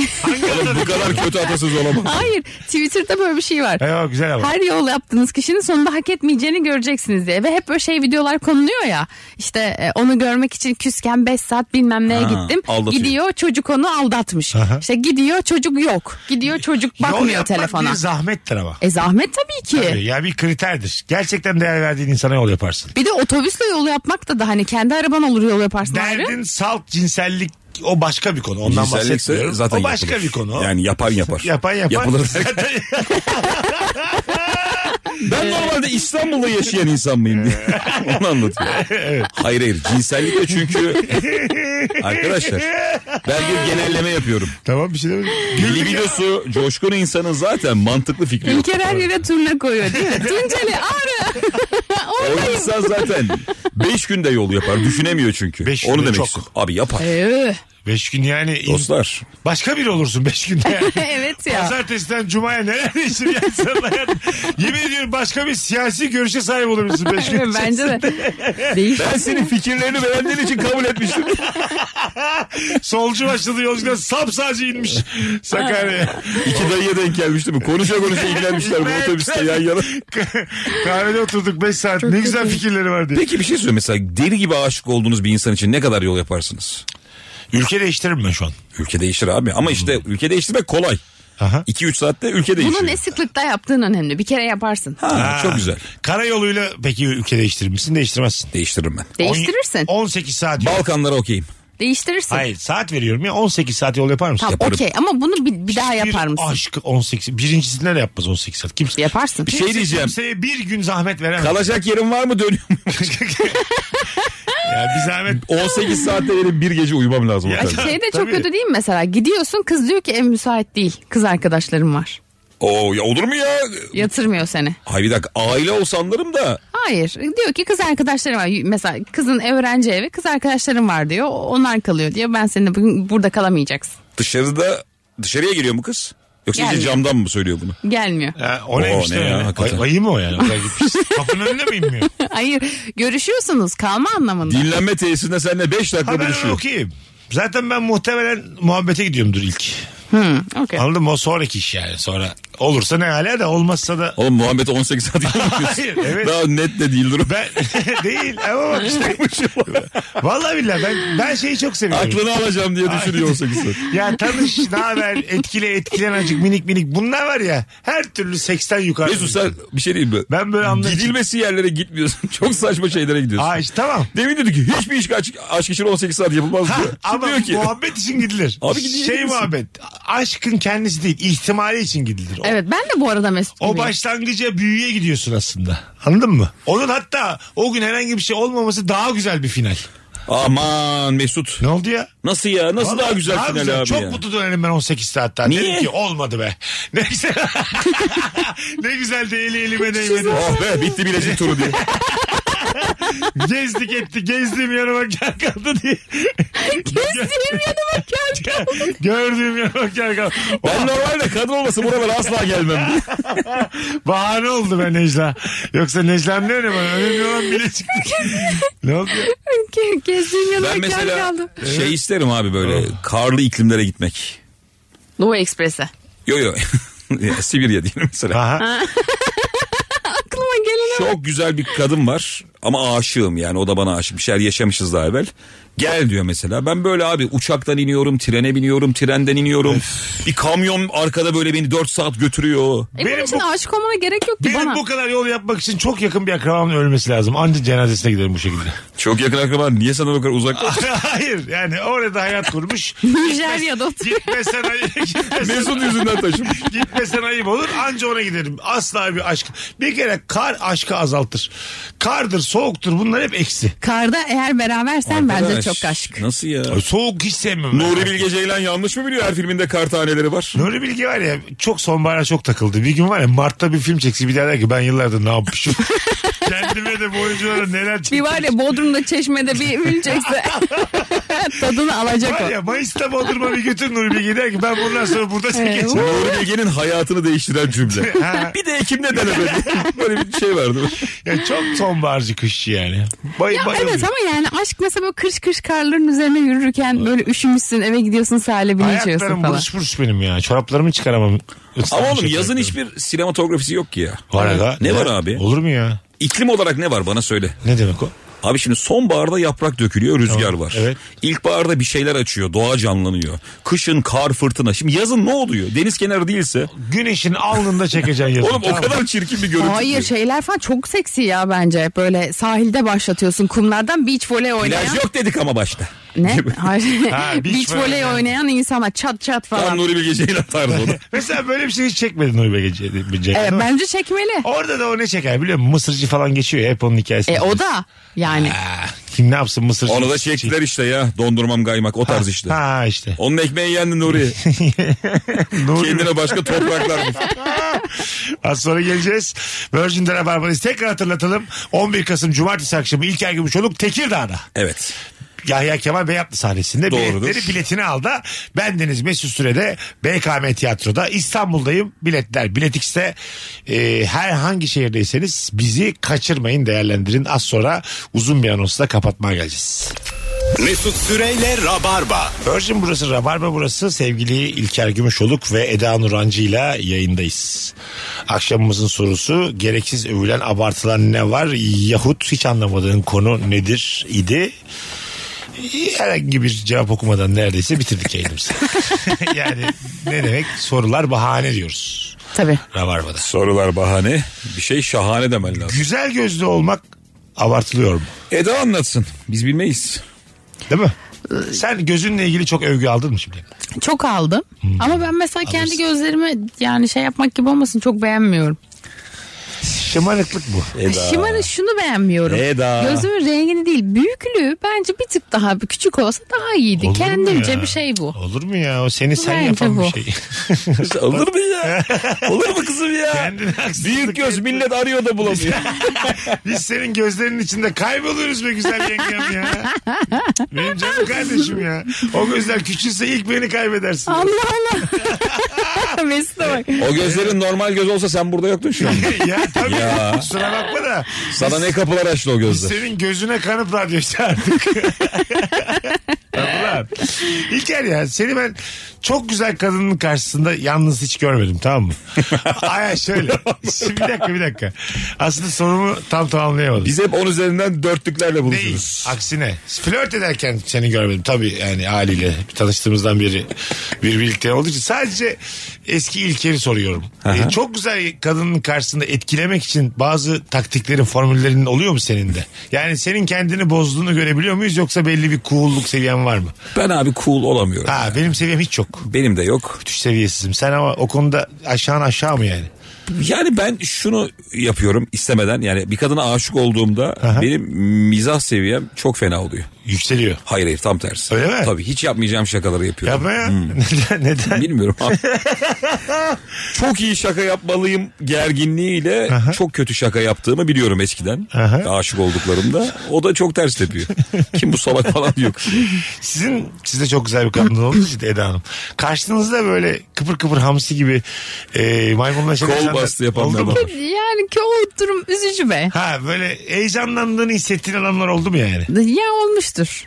Speaker 4: Oğlum bu kadar kötü atasız olamaz.
Speaker 5: hayır Twitter'da böyle bir şey var.
Speaker 3: Eyvah güzel ama.
Speaker 5: Her yol yaptığınız kişinin sonunda hak etmeyeceğini göreceksiniz diye. Ve hep böyle şey videolar konuluyor ya. İşte e, onu görmek için küsken 5 saat bilmem neye
Speaker 4: Ha,
Speaker 5: gittim.
Speaker 4: aldatıyor.
Speaker 5: Gidiyor çocuk onu aldatmış.
Speaker 3: Aha.
Speaker 5: İşte gidiyor çocuk yok. Gidiyor çocuk
Speaker 3: Yol
Speaker 5: bakmıyor
Speaker 3: yapmak
Speaker 5: telefona.
Speaker 3: bir zahmettir ama.
Speaker 5: E zahmet tabii ki.
Speaker 3: Ya bir kriterdir. Gerçekten değer verdiğin insana yol yaparsın.
Speaker 5: Bir de otobüsle yol yapmak da da hani kendi araban olur yol yaparsın ayrı.
Speaker 3: Derdin salt cinsellik o başka bir konu. Ondan
Speaker 4: Cinsellikse
Speaker 3: bahsetmiyorum.
Speaker 4: zaten
Speaker 3: o başka
Speaker 4: yapılır.
Speaker 3: bir konu.
Speaker 4: Yani yapan yapar.
Speaker 3: [LAUGHS] Yapan yapar.
Speaker 4: Yapılır.
Speaker 3: Ee.
Speaker 4: ben normalde İstanbul'da yaşayan insan mıyım diye. [LAUGHS]
Speaker 3: [LAUGHS]
Speaker 4: Onu anlatıyor. Hayır hayır cinsellik de çünkü arkadaşlar ben bir genelleme yapıyorum.
Speaker 3: tamam bir şey demedim. Güldük ya.
Speaker 4: Libidosu coşkun insanın zaten mantıklı fikri yok.
Speaker 5: İlker her yere turna koyuyor
Speaker 3: [LAUGHS]
Speaker 5: değil mi? Tunceli ah! ağrı.
Speaker 4: O
Speaker 5: Oradayım.
Speaker 4: insan zaten 5 günde yol yapar. Düşünemiyor çünkü.
Speaker 3: Beş
Speaker 4: Onu
Speaker 3: günde
Speaker 4: demek
Speaker 3: çok.
Speaker 4: istiyorum. Abi yapar.
Speaker 5: Ee,
Speaker 3: Beş gün yani. in-
Speaker 4: Dostlar.
Speaker 3: Başka biri olursun beş günde [LAUGHS] yani.
Speaker 5: evet ya.
Speaker 3: Pazartesiden cumaya neler değişir ya [LAUGHS] insanın hayatı. Yemin ediyorum başka bir siyasi görüşe sahip olabilirsin [LAUGHS] beş gün içerisinde.
Speaker 5: [LAUGHS] Bence de. Değil.
Speaker 3: [LAUGHS]
Speaker 4: Ben senin fikirlerini beğendiğin için kabul etmiştim.
Speaker 3: Solcu başladı yolculuğa sapsacı inmiş [LAUGHS] Sakarya'ya.
Speaker 4: İki dayıya denk gelmişti mi? Konuşa konuşa ilgilenmişler bu
Speaker 3: Evet.
Speaker 4: otobüste yan yana.
Speaker 3: Kahvede oturduk beş saat ne güzel fikirleri var diye.
Speaker 4: Peki bir şey söyle mesela deli gibi aşık olduğunuz bir insan için ne kadar yol yaparsınız?
Speaker 3: Ülke değiştiririm ben şu an.
Speaker 4: Ülke değişir abi ama işte
Speaker 3: Hmm.
Speaker 4: ülke değiştirmek kolay.
Speaker 3: Aha.
Speaker 4: 2-3 saatte ülke değişiyor.
Speaker 5: Bunu ne sıklıkta yaptığın önemli. Bir kere yaparsın.
Speaker 4: Ha,
Speaker 3: Ha.
Speaker 4: çok güzel.
Speaker 3: Karayoluyla peki ülke değiştirir misin değiştirmezsin.
Speaker 4: Değiştiririm ben.
Speaker 5: Değiştirirsin.
Speaker 3: On- 18 saat. yol-
Speaker 4: Balkanlara okeyim.
Speaker 5: Değiştirirsin.
Speaker 3: Hayır saat veriyorum ya 18 saat yol yapar mısın?
Speaker 5: Tamam
Speaker 4: Yaparım.
Speaker 5: okey ama bunu bir, bir daha
Speaker 3: Bir
Speaker 5: yapar mısın?
Speaker 3: Aşkı 18. Birincisinde de yapmaz 18 saat. Kimse,
Speaker 5: Yaparsın.
Speaker 4: Bir şey diyeceğim.
Speaker 3: kimseye bir gün zahmet veremez.
Speaker 4: Kalacak yerin var mı dönüyor muyum?
Speaker 3: [LAUGHS] ya bir zahmet.
Speaker 4: 18 saatte benim bir gece uyumam lazım.
Speaker 3: Ya,
Speaker 4: otelde.
Speaker 3: ya.
Speaker 5: Şey de çok
Speaker 3: Tabii.
Speaker 5: kötü değil mi mesela? Gidiyorsun kız diyor ki ev müsait değil. Kız arkadaşlarım var.
Speaker 4: Oo ya olur mu ya?
Speaker 5: Yatırmıyor seni.
Speaker 4: Hayır bir dakika aile olsanlarım da
Speaker 5: Hayır. Diyor ki kız arkadaşlarım var. Mesela kızın öğrenci evi kız arkadaşlarım var diyor. Onlar kalıyor diyor. Ben seninle bugün burada kalamayacaksın.
Speaker 4: dışarıda dışarıya giriyor mu kız? Yoksa iyice
Speaker 5: Yani.
Speaker 4: camdan mı söylüyor bunu?
Speaker 5: Gelmiyor.
Speaker 3: Ya, o
Speaker 4: Oo,
Speaker 3: neymiş
Speaker 4: ne
Speaker 3: ne
Speaker 4: ya,
Speaker 3: ya?
Speaker 4: hakikaten.
Speaker 3: Ay, ayı mı o yani? O kadar
Speaker 4: [LAUGHS]
Speaker 3: gitmiş. Kapının önüne mi inmiyor?
Speaker 5: Hayır. Görüşüyorsunuz kalma anlamında.
Speaker 4: Dinlenme tesisinde seninle 5
Speaker 3: Ha
Speaker 4: dakika
Speaker 3: ben onu
Speaker 4: buluşuyor.
Speaker 3: okuyayım. Zaten ben muhtemelen muhabbete gidiyorumdur ilk.
Speaker 5: Okey.
Speaker 3: Anladın mı? O sonraki iş yani. Sonra olursa ne hala da olmazsa
Speaker 4: [LAUGHS]
Speaker 3: da
Speaker 4: Oğlum Muhammed 18
Speaker 3: [LAUGHS]
Speaker 4: saat yapıyorsun.
Speaker 3: Hayır, evet.
Speaker 4: Daha net de değil durum.
Speaker 3: ben [LAUGHS] değil ama bak işte. Vallahi billahi ben, ben şeyi çok seviyorum.
Speaker 4: Aklını alacağım diye düşünüyor 18 saat.
Speaker 3: Ya tanış, ne haber, etkile, etkilen azıcık minik minik. Bunlar var ya her türlü seksten yukarı.
Speaker 4: Mesut sen bir şey diyeyim mi?
Speaker 3: Ben böyle anlayışım.
Speaker 4: Gidilmesi yerlere gitmiyorsun. [LAUGHS] Çok saçma şeylere gidiyorsun.
Speaker 3: Aa işte tamam.
Speaker 4: Demin dedi ki hiçbir iş aşk, aşk için 18 saat yapılmaz
Speaker 3: Ha,
Speaker 4: diyor. Kim
Speaker 3: ama
Speaker 4: diyor ki?
Speaker 3: muhabbet için gidilir.
Speaker 4: Abi gidilir
Speaker 3: şey
Speaker 4: misin?
Speaker 3: muhabbet. Aşkın kendisi değil, ihtimali için gidilir. O,
Speaker 5: Evet ben de bu arada Mesut
Speaker 3: o
Speaker 5: gibiyim.
Speaker 3: başlangıca büyüye gidiyorsun aslında. Anladın mı? Onun hatta o gün herhangi bir şey olmaması daha güzel bir final.
Speaker 4: Aman Mesut.
Speaker 3: Ne oldu ya?
Speaker 4: Nasıl ya? Nasıl daha
Speaker 3: Vallahi
Speaker 4: güzel final abi
Speaker 3: Çok
Speaker 4: ya?
Speaker 3: mutlu dönerim ben 18 saatten.
Speaker 4: Niye?
Speaker 3: Dedim ki olmadı be. [LAUGHS] Ne güzel. ne güzel de eli elime değmedi.
Speaker 4: Oh be bitti bilecik
Speaker 3: [LAUGHS]
Speaker 4: turu diye.
Speaker 3: Gezdik etti. Gezdiğim yanıma gel kaldı diye.
Speaker 5: Gezdiğim yanıma gel kaldı.
Speaker 3: Gördüğüm yanıma gel kaldı. O
Speaker 4: Ben normalde kadın olması buralara
Speaker 3: [LAUGHS]
Speaker 4: asla gelmem diye.
Speaker 3: bahane oldu be Necla. Yoksa Necla'm ne önemi var? Önemli olan bile çıktı. ne oldu? ya?
Speaker 5: Ge- Gezdiğim yanıma
Speaker 4: Ben
Speaker 5: gel
Speaker 4: mesela
Speaker 5: kaldı.
Speaker 4: şey isterim abi böyle
Speaker 3: Oh.
Speaker 4: karlı iklimlere gitmek.
Speaker 5: Doğu Ekspres'e.
Speaker 4: Yo yo. [LAUGHS] Sibirya diyelim mesela.
Speaker 3: Aha.
Speaker 5: Aklıma gelene
Speaker 4: Çok güzel bir kadın var ama aşığım yani o da bana aşık bir şeyler yaşamışız daha evvel. Gel diyor mesela ben böyle abi uçaktan iniyorum trene biniyorum trenden iniyorum. bir kamyon arkada böyle beni 4 saat götürüyor.
Speaker 5: E bunun
Speaker 3: Benim
Speaker 5: için
Speaker 3: bu-
Speaker 5: aşık olmana gerek yok ki
Speaker 3: Benim
Speaker 5: bana.
Speaker 3: bu kadar yol yapmak için çok yakın bir akrabamın ölmesi lazım. Anca cenazesine giderim bu şekilde.
Speaker 4: Çok yakın akraban niye sana bu kadar uzak?
Speaker 3: Hayır yani orada hayat kurmuş. [LAUGHS]
Speaker 5: Nijerya'da oturuyor.
Speaker 3: Gitmesen ayıp.
Speaker 4: [LAUGHS]
Speaker 3: Gitmesen,
Speaker 4: Mesut yüzünden taşımış.
Speaker 3: gitmesen ayıp olur. Anca ona giderim. Asla bir aşk. Bir kere kar aşkı azaltır. Kardır, soğuktur bunlar hep eksi.
Speaker 5: Karda eğer berabersen bence
Speaker 4: Arkadaş,
Speaker 5: çok aşk.
Speaker 4: Nasıl ya?
Speaker 3: Soğuk hiç sevmem. ben.
Speaker 4: Nuri Bilge Ceylan yanlış mı biliyor her filminde kar taneleri var.
Speaker 3: Nuri Bilge var
Speaker 5: [LAUGHS]
Speaker 3: ya çok sonbahara çok takıldı. Bir gün var ya Mart'ta bir film çeksin bir daha der ki ben yıllardır ne yapmışım. Kendime de bu oyunculara neler çektim.
Speaker 5: Bir var ya Bodrum'da çeşmede bir ünecekse [LAUGHS] tadını alacak
Speaker 3: Var
Speaker 5: o.
Speaker 3: ya Mayıs'ta Bodrum'a bir götür Nuri Bilge der ki ben bundan sonra burada çekeceğim.
Speaker 4: Nuri Bilge'nin hayatını değiştiren cümle.
Speaker 3: Ha.
Speaker 4: bir de Ekim'de denemedi. Böyle bir şey vardı.
Speaker 3: ya çok sonbaharcı kışçı yani. Bay,
Speaker 5: Ya
Speaker 3: bayılıyorum.
Speaker 5: evet ama yani aşk mesela böyle kırış kırış karların üzerine yürürken böyle üşümüşsün eve gidiyorsun sahile bir içiyorsun
Speaker 3: Ayaklarım
Speaker 5: falan.
Speaker 3: buruş buruş benim ya. Çoraplarımı çıkaramam. Islanmış
Speaker 4: Ama oğlum yazın
Speaker 3: eteklerim.
Speaker 4: hiçbir sinematografisi yok ki ya.
Speaker 3: Var aga.
Speaker 4: Ne var abi?
Speaker 3: Olur mu ya?
Speaker 4: İklim olarak ne var bana söyle.
Speaker 3: Ne demek o?
Speaker 4: Abi şimdi sonbaharda yaprak dökülüyor rüzgar
Speaker 3: Tamam,
Speaker 4: var.
Speaker 3: evet.
Speaker 4: İlkbaharda bir şeyler açıyor doğa canlanıyor. Kışın kar fırtına. Şimdi yazın ne oluyor? Deniz kenarı değilse.
Speaker 3: Güneşin alnında çekeceksin yazın.
Speaker 4: Oğlum o
Speaker 3: Tamam.
Speaker 4: kadar çirkin bir görüntü.
Speaker 5: Hayır
Speaker 4: ki.
Speaker 5: şeyler falan çok seksi ya bence. Böyle sahilde başlatıyorsun kumlardan beach voley oynayan.
Speaker 4: Plaj yok dedik ama başta.
Speaker 5: Ne? [LAUGHS] Hayır.
Speaker 3: Ha, beach
Speaker 5: beach,
Speaker 3: voley.
Speaker 5: voley oynayan insanlar çat çat
Speaker 4: Tam
Speaker 5: falan.
Speaker 4: Nuri Bilge Ceylan tarzı
Speaker 3: [LAUGHS]
Speaker 4: o da.
Speaker 3: Mesela böyle bir şey hiç çekmedin Nuri Bilge'ye. Bilge'ye,
Speaker 5: Evet,
Speaker 3: değil mi?
Speaker 5: bence çekmeli.
Speaker 3: Orada da o ne çeker biliyor musun? Mısırcı falan geçiyor ya, hep onun hikayesi.
Speaker 5: E o da yani.
Speaker 3: Kim ne yapsın mısırcı?
Speaker 4: Onu da çektiler işte ya. Dondurmam gaymak o tarz işte.
Speaker 3: Ha işte.
Speaker 4: Onun ekmeği yendi Nuri.
Speaker 3: [LAUGHS] Nuri
Speaker 4: [LAUGHS] Kendine başka topraklar.
Speaker 3: [LAUGHS]
Speaker 4: bul.
Speaker 3: Az sonra geleceğiz. Virgin'de Rabarba'dayız. Tekrar hatırlatalım. 11 Kasım Cumartesi akşamı İlker Gümüşoluk Tekirdağ'da.
Speaker 4: evet.
Speaker 3: Yahya Kemal Beyatlı sahnesinde
Speaker 4: Doğrudur.
Speaker 3: biletleri biletini aldı. Bendeniz Mesut Süre'de BKM Tiyatro'da İstanbul'dayım. Biletler Biletix'te e, herhangi şehirdeyseniz bizi kaçırmayın değerlendirin. Az sonra uzun bir anonsla kapatmaya geleceğiz.
Speaker 2: Mesut Süreyle Rabarba.
Speaker 3: Virgin burası, Rabarba burası. Sevgili İlker Gümüşoluk ve Eda Nurancı ile yayındayız. Akşamımızın sorusu gereksiz övülen abartılan ne var yahut hiç anlamadığın konu nedir idi? Herhangi bir cevap okumadan neredeyse bitirdik
Speaker 5: [LAUGHS]
Speaker 3: yayınımızı. [LAUGHS] yani ne demek sorular bahane diyoruz
Speaker 5: Tabii.
Speaker 3: Rabarba'da.
Speaker 4: Sorular bahane. Bir şey şahane demen lazım.
Speaker 3: Güzel gözlü olmak abartılıyor mu?
Speaker 4: Eda anlatsın.
Speaker 3: [LAUGHS]
Speaker 4: Biz bilmeyiz.
Speaker 3: Değil mi? Sen gözünle ilgili çok övgü aldın mı şimdi?
Speaker 5: Çok aldım. Ama ben mesela kendi
Speaker 3: Hmm. Alırsın.
Speaker 5: gözlerimi yani şey yapmak gibi olmasın çok beğenmiyorum.
Speaker 3: Şımarıklık bu. E,
Speaker 5: [LAUGHS]
Speaker 4: Eda.
Speaker 5: Şımarın şunu beğenmiyorum.
Speaker 4: Eda.
Speaker 5: Gözümün rengini değil büyüklüğü bence bir tık daha küçük olsa daha iyiydi.
Speaker 3: Olur mu
Speaker 5: Kendimce
Speaker 3: ya?
Speaker 5: bir şey bu.
Speaker 3: Olur mu ya? O seni sen
Speaker 5: Bence
Speaker 3: yapan
Speaker 5: bu.
Speaker 3: bir şey. [LAUGHS]
Speaker 4: Olur mu ya? Olur mu kızım ya?
Speaker 3: Kendine haksızlık
Speaker 4: Büyük göz millet arıyor
Speaker 3: [LAUGHS]
Speaker 4: da bulamıyor.
Speaker 3: Biz senin gözlerinin içinde kayboluruz be güzel yengem ya. Benim canım kardeşim ya. O gözler küçülse ilk beni kaybedersin.
Speaker 5: Allah Allah. Mesut'a bak.
Speaker 4: o gözlerin normal göz olsa sen burada yoktun şu an.
Speaker 3: [LAUGHS] ya tabii
Speaker 4: Ya.
Speaker 3: kusura bakma da
Speaker 4: Sana ne kapılar açtı o gözler.
Speaker 3: senin gözüne kanıp radyo işte artık. Ulan. İlker ya seni ben çok güzel kadının karşısında yalnız hiç görmedim tamam mı? Aya şöyle. Şimdi bir dakika bir dakika. Aslında sorumu tam tamamlayamadım.
Speaker 4: Biz hep on üzerinden dörtlüklerle
Speaker 3: Değil.
Speaker 4: buluşuruz.
Speaker 3: Aksine. Flört ederken seni görmedim. Tabii yani haliyle tanıştığımızdan beri bir birlikte olduğu için. Sadece eski İlker'i soruyorum. Ee, çok güzel kadının karşısında etkilemek için bazı taktiklerin, formüllerinin oluyor mu senin de? Yani senin kendini bozduğunu görebiliyor muyuz yoksa belli bir cool'luk seviyen var mı?
Speaker 4: Ben abi cool olamıyorum.
Speaker 3: Ha benim seviyem hiç yok.
Speaker 4: Benim de yok.
Speaker 3: Düş seviyesizim. Sen ama o konuda aşağın aşağı mı yani?
Speaker 4: Yani ben şunu yapıyorum istemeden. Yani bir kadına aşık olduğumda benim mizah seviyem çok fena oluyor.
Speaker 3: Yükseliyor.
Speaker 4: Hayır hayır tam tersi.
Speaker 3: Öyle mi?
Speaker 4: Tabii hiç yapmayacağım şakaları yapıyorum.
Speaker 3: Yapma ya. [LAUGHS] Neden? Neden?
Speaker 4: [LAUGHS] Bilmiyorum
Speaker 3: [LAUGHS]
Speaker 4: abi. çok iyi şaka yapmalıyım gerginliğiyle çok kötü şaka yaptığımı biliyorum eskiden.
Speaker 3: Aha.
Speaker 4: Aşık olduklarımda. O da çok ters
Speaker 3: [LAUGHS]
Speaker 4: tepiyor. Kim bu salak falan diyor.
Speaker 3: Sizin sizde çok güzel bir kadın olduğunuz için Eda Hanım. Karşınızda böyle kıpır kıpır hamsi gibi e, maymunlaşan
Speaker 4: Kol
Speaker 3: insanlar
Speaker 4: bastı yapanlar
Speaker 3: oldu mu?
Speaker 4: var.
Speaker 5: Yani ki o durum üzücü be.
Speaker 3: Ha böyle heyecanlandığını hissettiğin adamlar oldu mu yani?
Speaker 5: Ya olmuştur.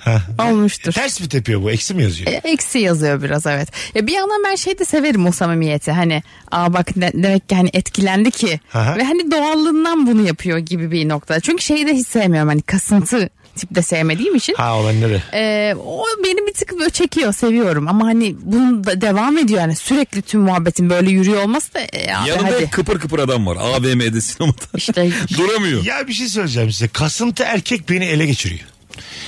Speaker 5: Olmuştur.
Speaker 3: Ters mi tepiyor bu? Eksi mi yazıyor?
Speaker 5: E, Eksi yazıyor biraz evet. Ya bir yandan ben şey de severim o samimiyeti. Hani aa bak ne- demek ki hani etkilendi ki.
Speaker 3: Aha.
Speaker 5: Ve hani doğallığından bunu yapıyor gibi bir nokta. Çünkü şeyi de hiç sevmiyorum hani kasıntı tip de sevmediğim için.
Speaker 3: Ha o bende de.
Speaker 5: E, o beni bir tık böyle çekiyor seviyorum ama hani bunu da devam ediyor yani sürekli tüm muhabbetin böyle yürüyor olması da e, abi
Speaker 4: Yanında
Speaker 5: hadi
Speaker 4: kıpır kıpır adam var. AVM'de sinemada.
Speaker 3: [LAUGHS]
Speaker 4: [LAUGHS]
Speaker 5: işte
Speaker 4: Duramıyor.
Speaker 3: Ya bir şey söyleyeceğim size. Kasıntı erkek beni ele geçiriyor.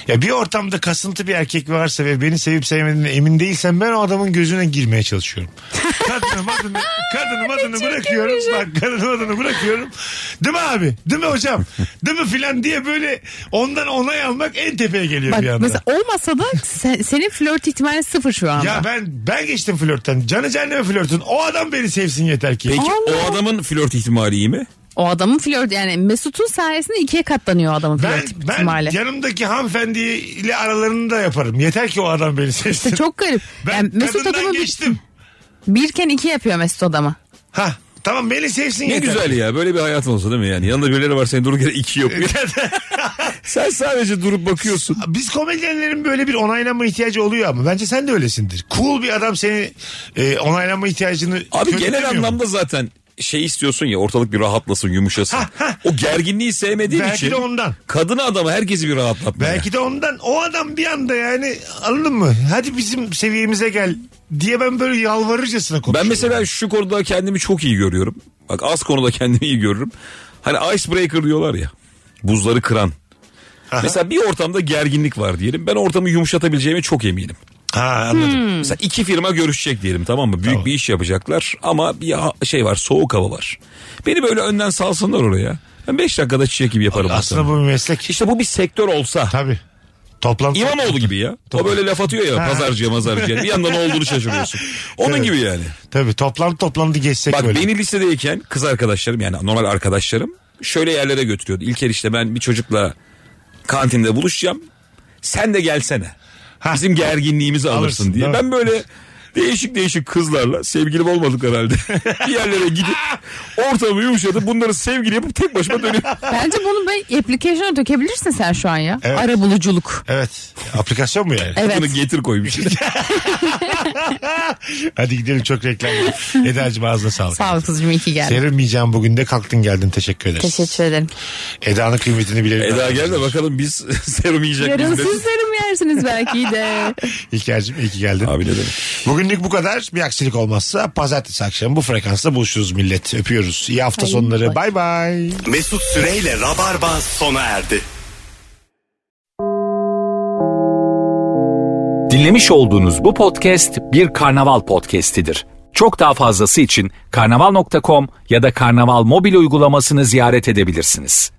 Speaker 3: Ya bir ortamda kasıntı bir erkek varsa ve beni sevip sevmediğine emin değilsem ben o adamın gözüne girmeye
Speaker 5: [LAUGHS]
Speaker 3: çalışıyorum. Kadınım adını, kadınım adını bırakıyorum. Bak kadınım adını bırakıyorum. Değil mi abi? Değil mi hocam? Değil mi filan diye böyle ondan onay almak en tepeye geliyor
Speaker 5: bak
Speaker 3: bir anda.
Speaker 5: mesela olmasa da sen- senin flört ihtimali sıfır şu anda.
Speaker 3: Ya ben ben geçtim flörtten. Canı cehenneme flörtün. O adam beni sevsin yeter ki.
Speaker 4: Peki
Speaker 5: Allah.
Speaker 4: o adamın flört ihtimali iyi mi?
Speaker 5: O adamın flört yani Mesut'un sayesinde ikiye katlanıyor o adamın
Speaker 3: Ben,
Speaker 5: flört
Speaker 3: ben
Speaker 5: ihtimali.
Speaker 3: yanımdaki hanımefendiyle aralarını da yaparım. Yeter ki o adam beni sevsin.
Speaker 5: [LAUGHS] İşte çok garip.
Speaker 3: Ben
Speaker 5: yani Mesut
Speaker 3: kadından
Speaker 5: adamı bir-
Speaker 3: geçtim.
Speaker 5: birken iki yapıyor
Speaker 3: [LAUGHS]
Speaker 5: Mesut adamı.
Speaker 3: Ha tamam beni sevsin
Speaker 4: Ne
Speaker 3: yeter.
Speaker 4: güzel ya böyle bir hayatın olsa değil mi yani? Yanında birileri var senin durup yere iki yapıyor. [LAUGHS] Sen sadece durup bakıyorsun.
Speaker 3: [LAUGHS] Biz komedyenlerin böyle bir onaylanma ihtiyacı oluyor ama bence sen de öylesindir. Cool bir adam seni e, onaylanma ihtiyacını
Speaker 4: Abi genel
Speaker 3: körüklemiyor mu?
Speaker 4: anlamda zaten şey istiyorsun ya ortalık bir rahatlasın yumuşasın. o gerginliği sevmediğin
Speaker 3: Belki
Speaker 4: için
Speaker 3: de ondan.
Speaker 4: kadını adamı herkesi bir rahatlatmaya.
Speaker 3: Belki de ondan o adam bir anda yani anladın mı? Hadi bizim seviyemize gel diye ben böyle yalvarırcasına konuşuyorum.
Speaker 4: Ben mesela şu konuda kendimi çok iyi görüyorum. Bak az konuda [LAUGHS] kendimi iyi görürüm. Hani icebreaker diyorlar ya. Buzları kıran. Mesela bir ortamda gerginlik var diyelim. Ben ortamı yumuşatabileceğime çok eminim.
Speaker 3: Ha anladım.
Speaker 4: Mesela iki firma görüşecek diyelim tamam mı? Büyük bir iş yapacaklar ama bir ha- şey var soğuk hava var. Beni böyle önden salsınlar oraya. Ben beş dakikada çiçek gibi yaparım.
Speaker 3: Aslında
Speaker 4: ortamı.
Speaker 3: bu bir meslek.
Speaker 4: İşte bu bir sektör olsa.
Speaker 3: Tabii. Toplantı.
Speaker 4: İmamoğlu gibi ya. O böyle laf atıyor ya pazarcıya mazarcıya. Bir yandan ne
Speaker 3: [LAUGHS]
Speaker 4: olduğunu şaşırıyorsun. Onun
Speaker 3: Evet.
Speaker 4: gibi yani.
Speaker 3: Tabii toplantı toplantı geçsek
Speaker 4: Bak
Speaker 3: böyle.
Speaker 4: beni lisedeyken kız arkadaşlarım yani normal arkadaşlarım şöyle yerlere götürüyordu. İlker işte ben bir çocukla kantinde buluşacağım. Sen de gelsene.
Speaker 3: Ha.
Speaker 4: Bizim gerginliğimizi alırsın,
Speaker 3: Alırsın,
Speaker 4: diye.
Speaker 3: değil mi?
Speaker 4: Ben böyle değişik değişik kızlarla sevgilim olmadık herhalde. [LAUGHS] bir yerlere gidip ortamı yumuşatıp bunları sevgili yapıp tek başıma dönüyorum.
Speaker 5: Bence bunu bir application'a dökebilirsin sen şu an ya.
Speaker 3: Evet.
Speaker 5: Ara buluculuk.
Speaker 3: Evet. Aplikasyon mu
Speaker 4: [LAUGHS]
Speaker 3: yani?
Speaker 5: Evet.
Speaker 4: Bunu getir
Speaker 3: [LAUGHS]
Speaker 4: koymuş.
Speaker 3: Hadi gidelim çok reklam var. Eda'cığım ağzına sağlık.
Speaker 5: Sağ ol kızcığım iyi ki geldin.
Speaker 3: Serilmeyeceğim bugün de kalktın geldin teşekkür ederiz.
Speaker 5: Teşekkür ederim.
Speaker 3: Eda'nın kıymetini bilelim.
Speaker 4: Eda E gel de bakalım biz [LAUGHS] serum yiyecek
Speaker 5: Yarın
Speaker 4: miyiz?
Speaker 5: siz serum yersiniz belki de.
Speaker 3: İlker'cim iyi ki geldin.
Speaker 4: Abi ne demek.
Speaker 3: Bugünlük bu kadar. Bir aksilik olmazsa pazartesi akşamı bu frekansta buluşuruz millet. Öpüyoruz. İyi hafta sonları. Bay bay.
Speaker 2: Mesut Süreyle Rabarba sona erdi.
Speaker 1: Dinlemiş olduğunuz bu podcast bir karnaval podcastidir. Çok daha fazlası için karnaval.com ya da karnaval mobil uygulamasını ziyaret edebilirsiniz.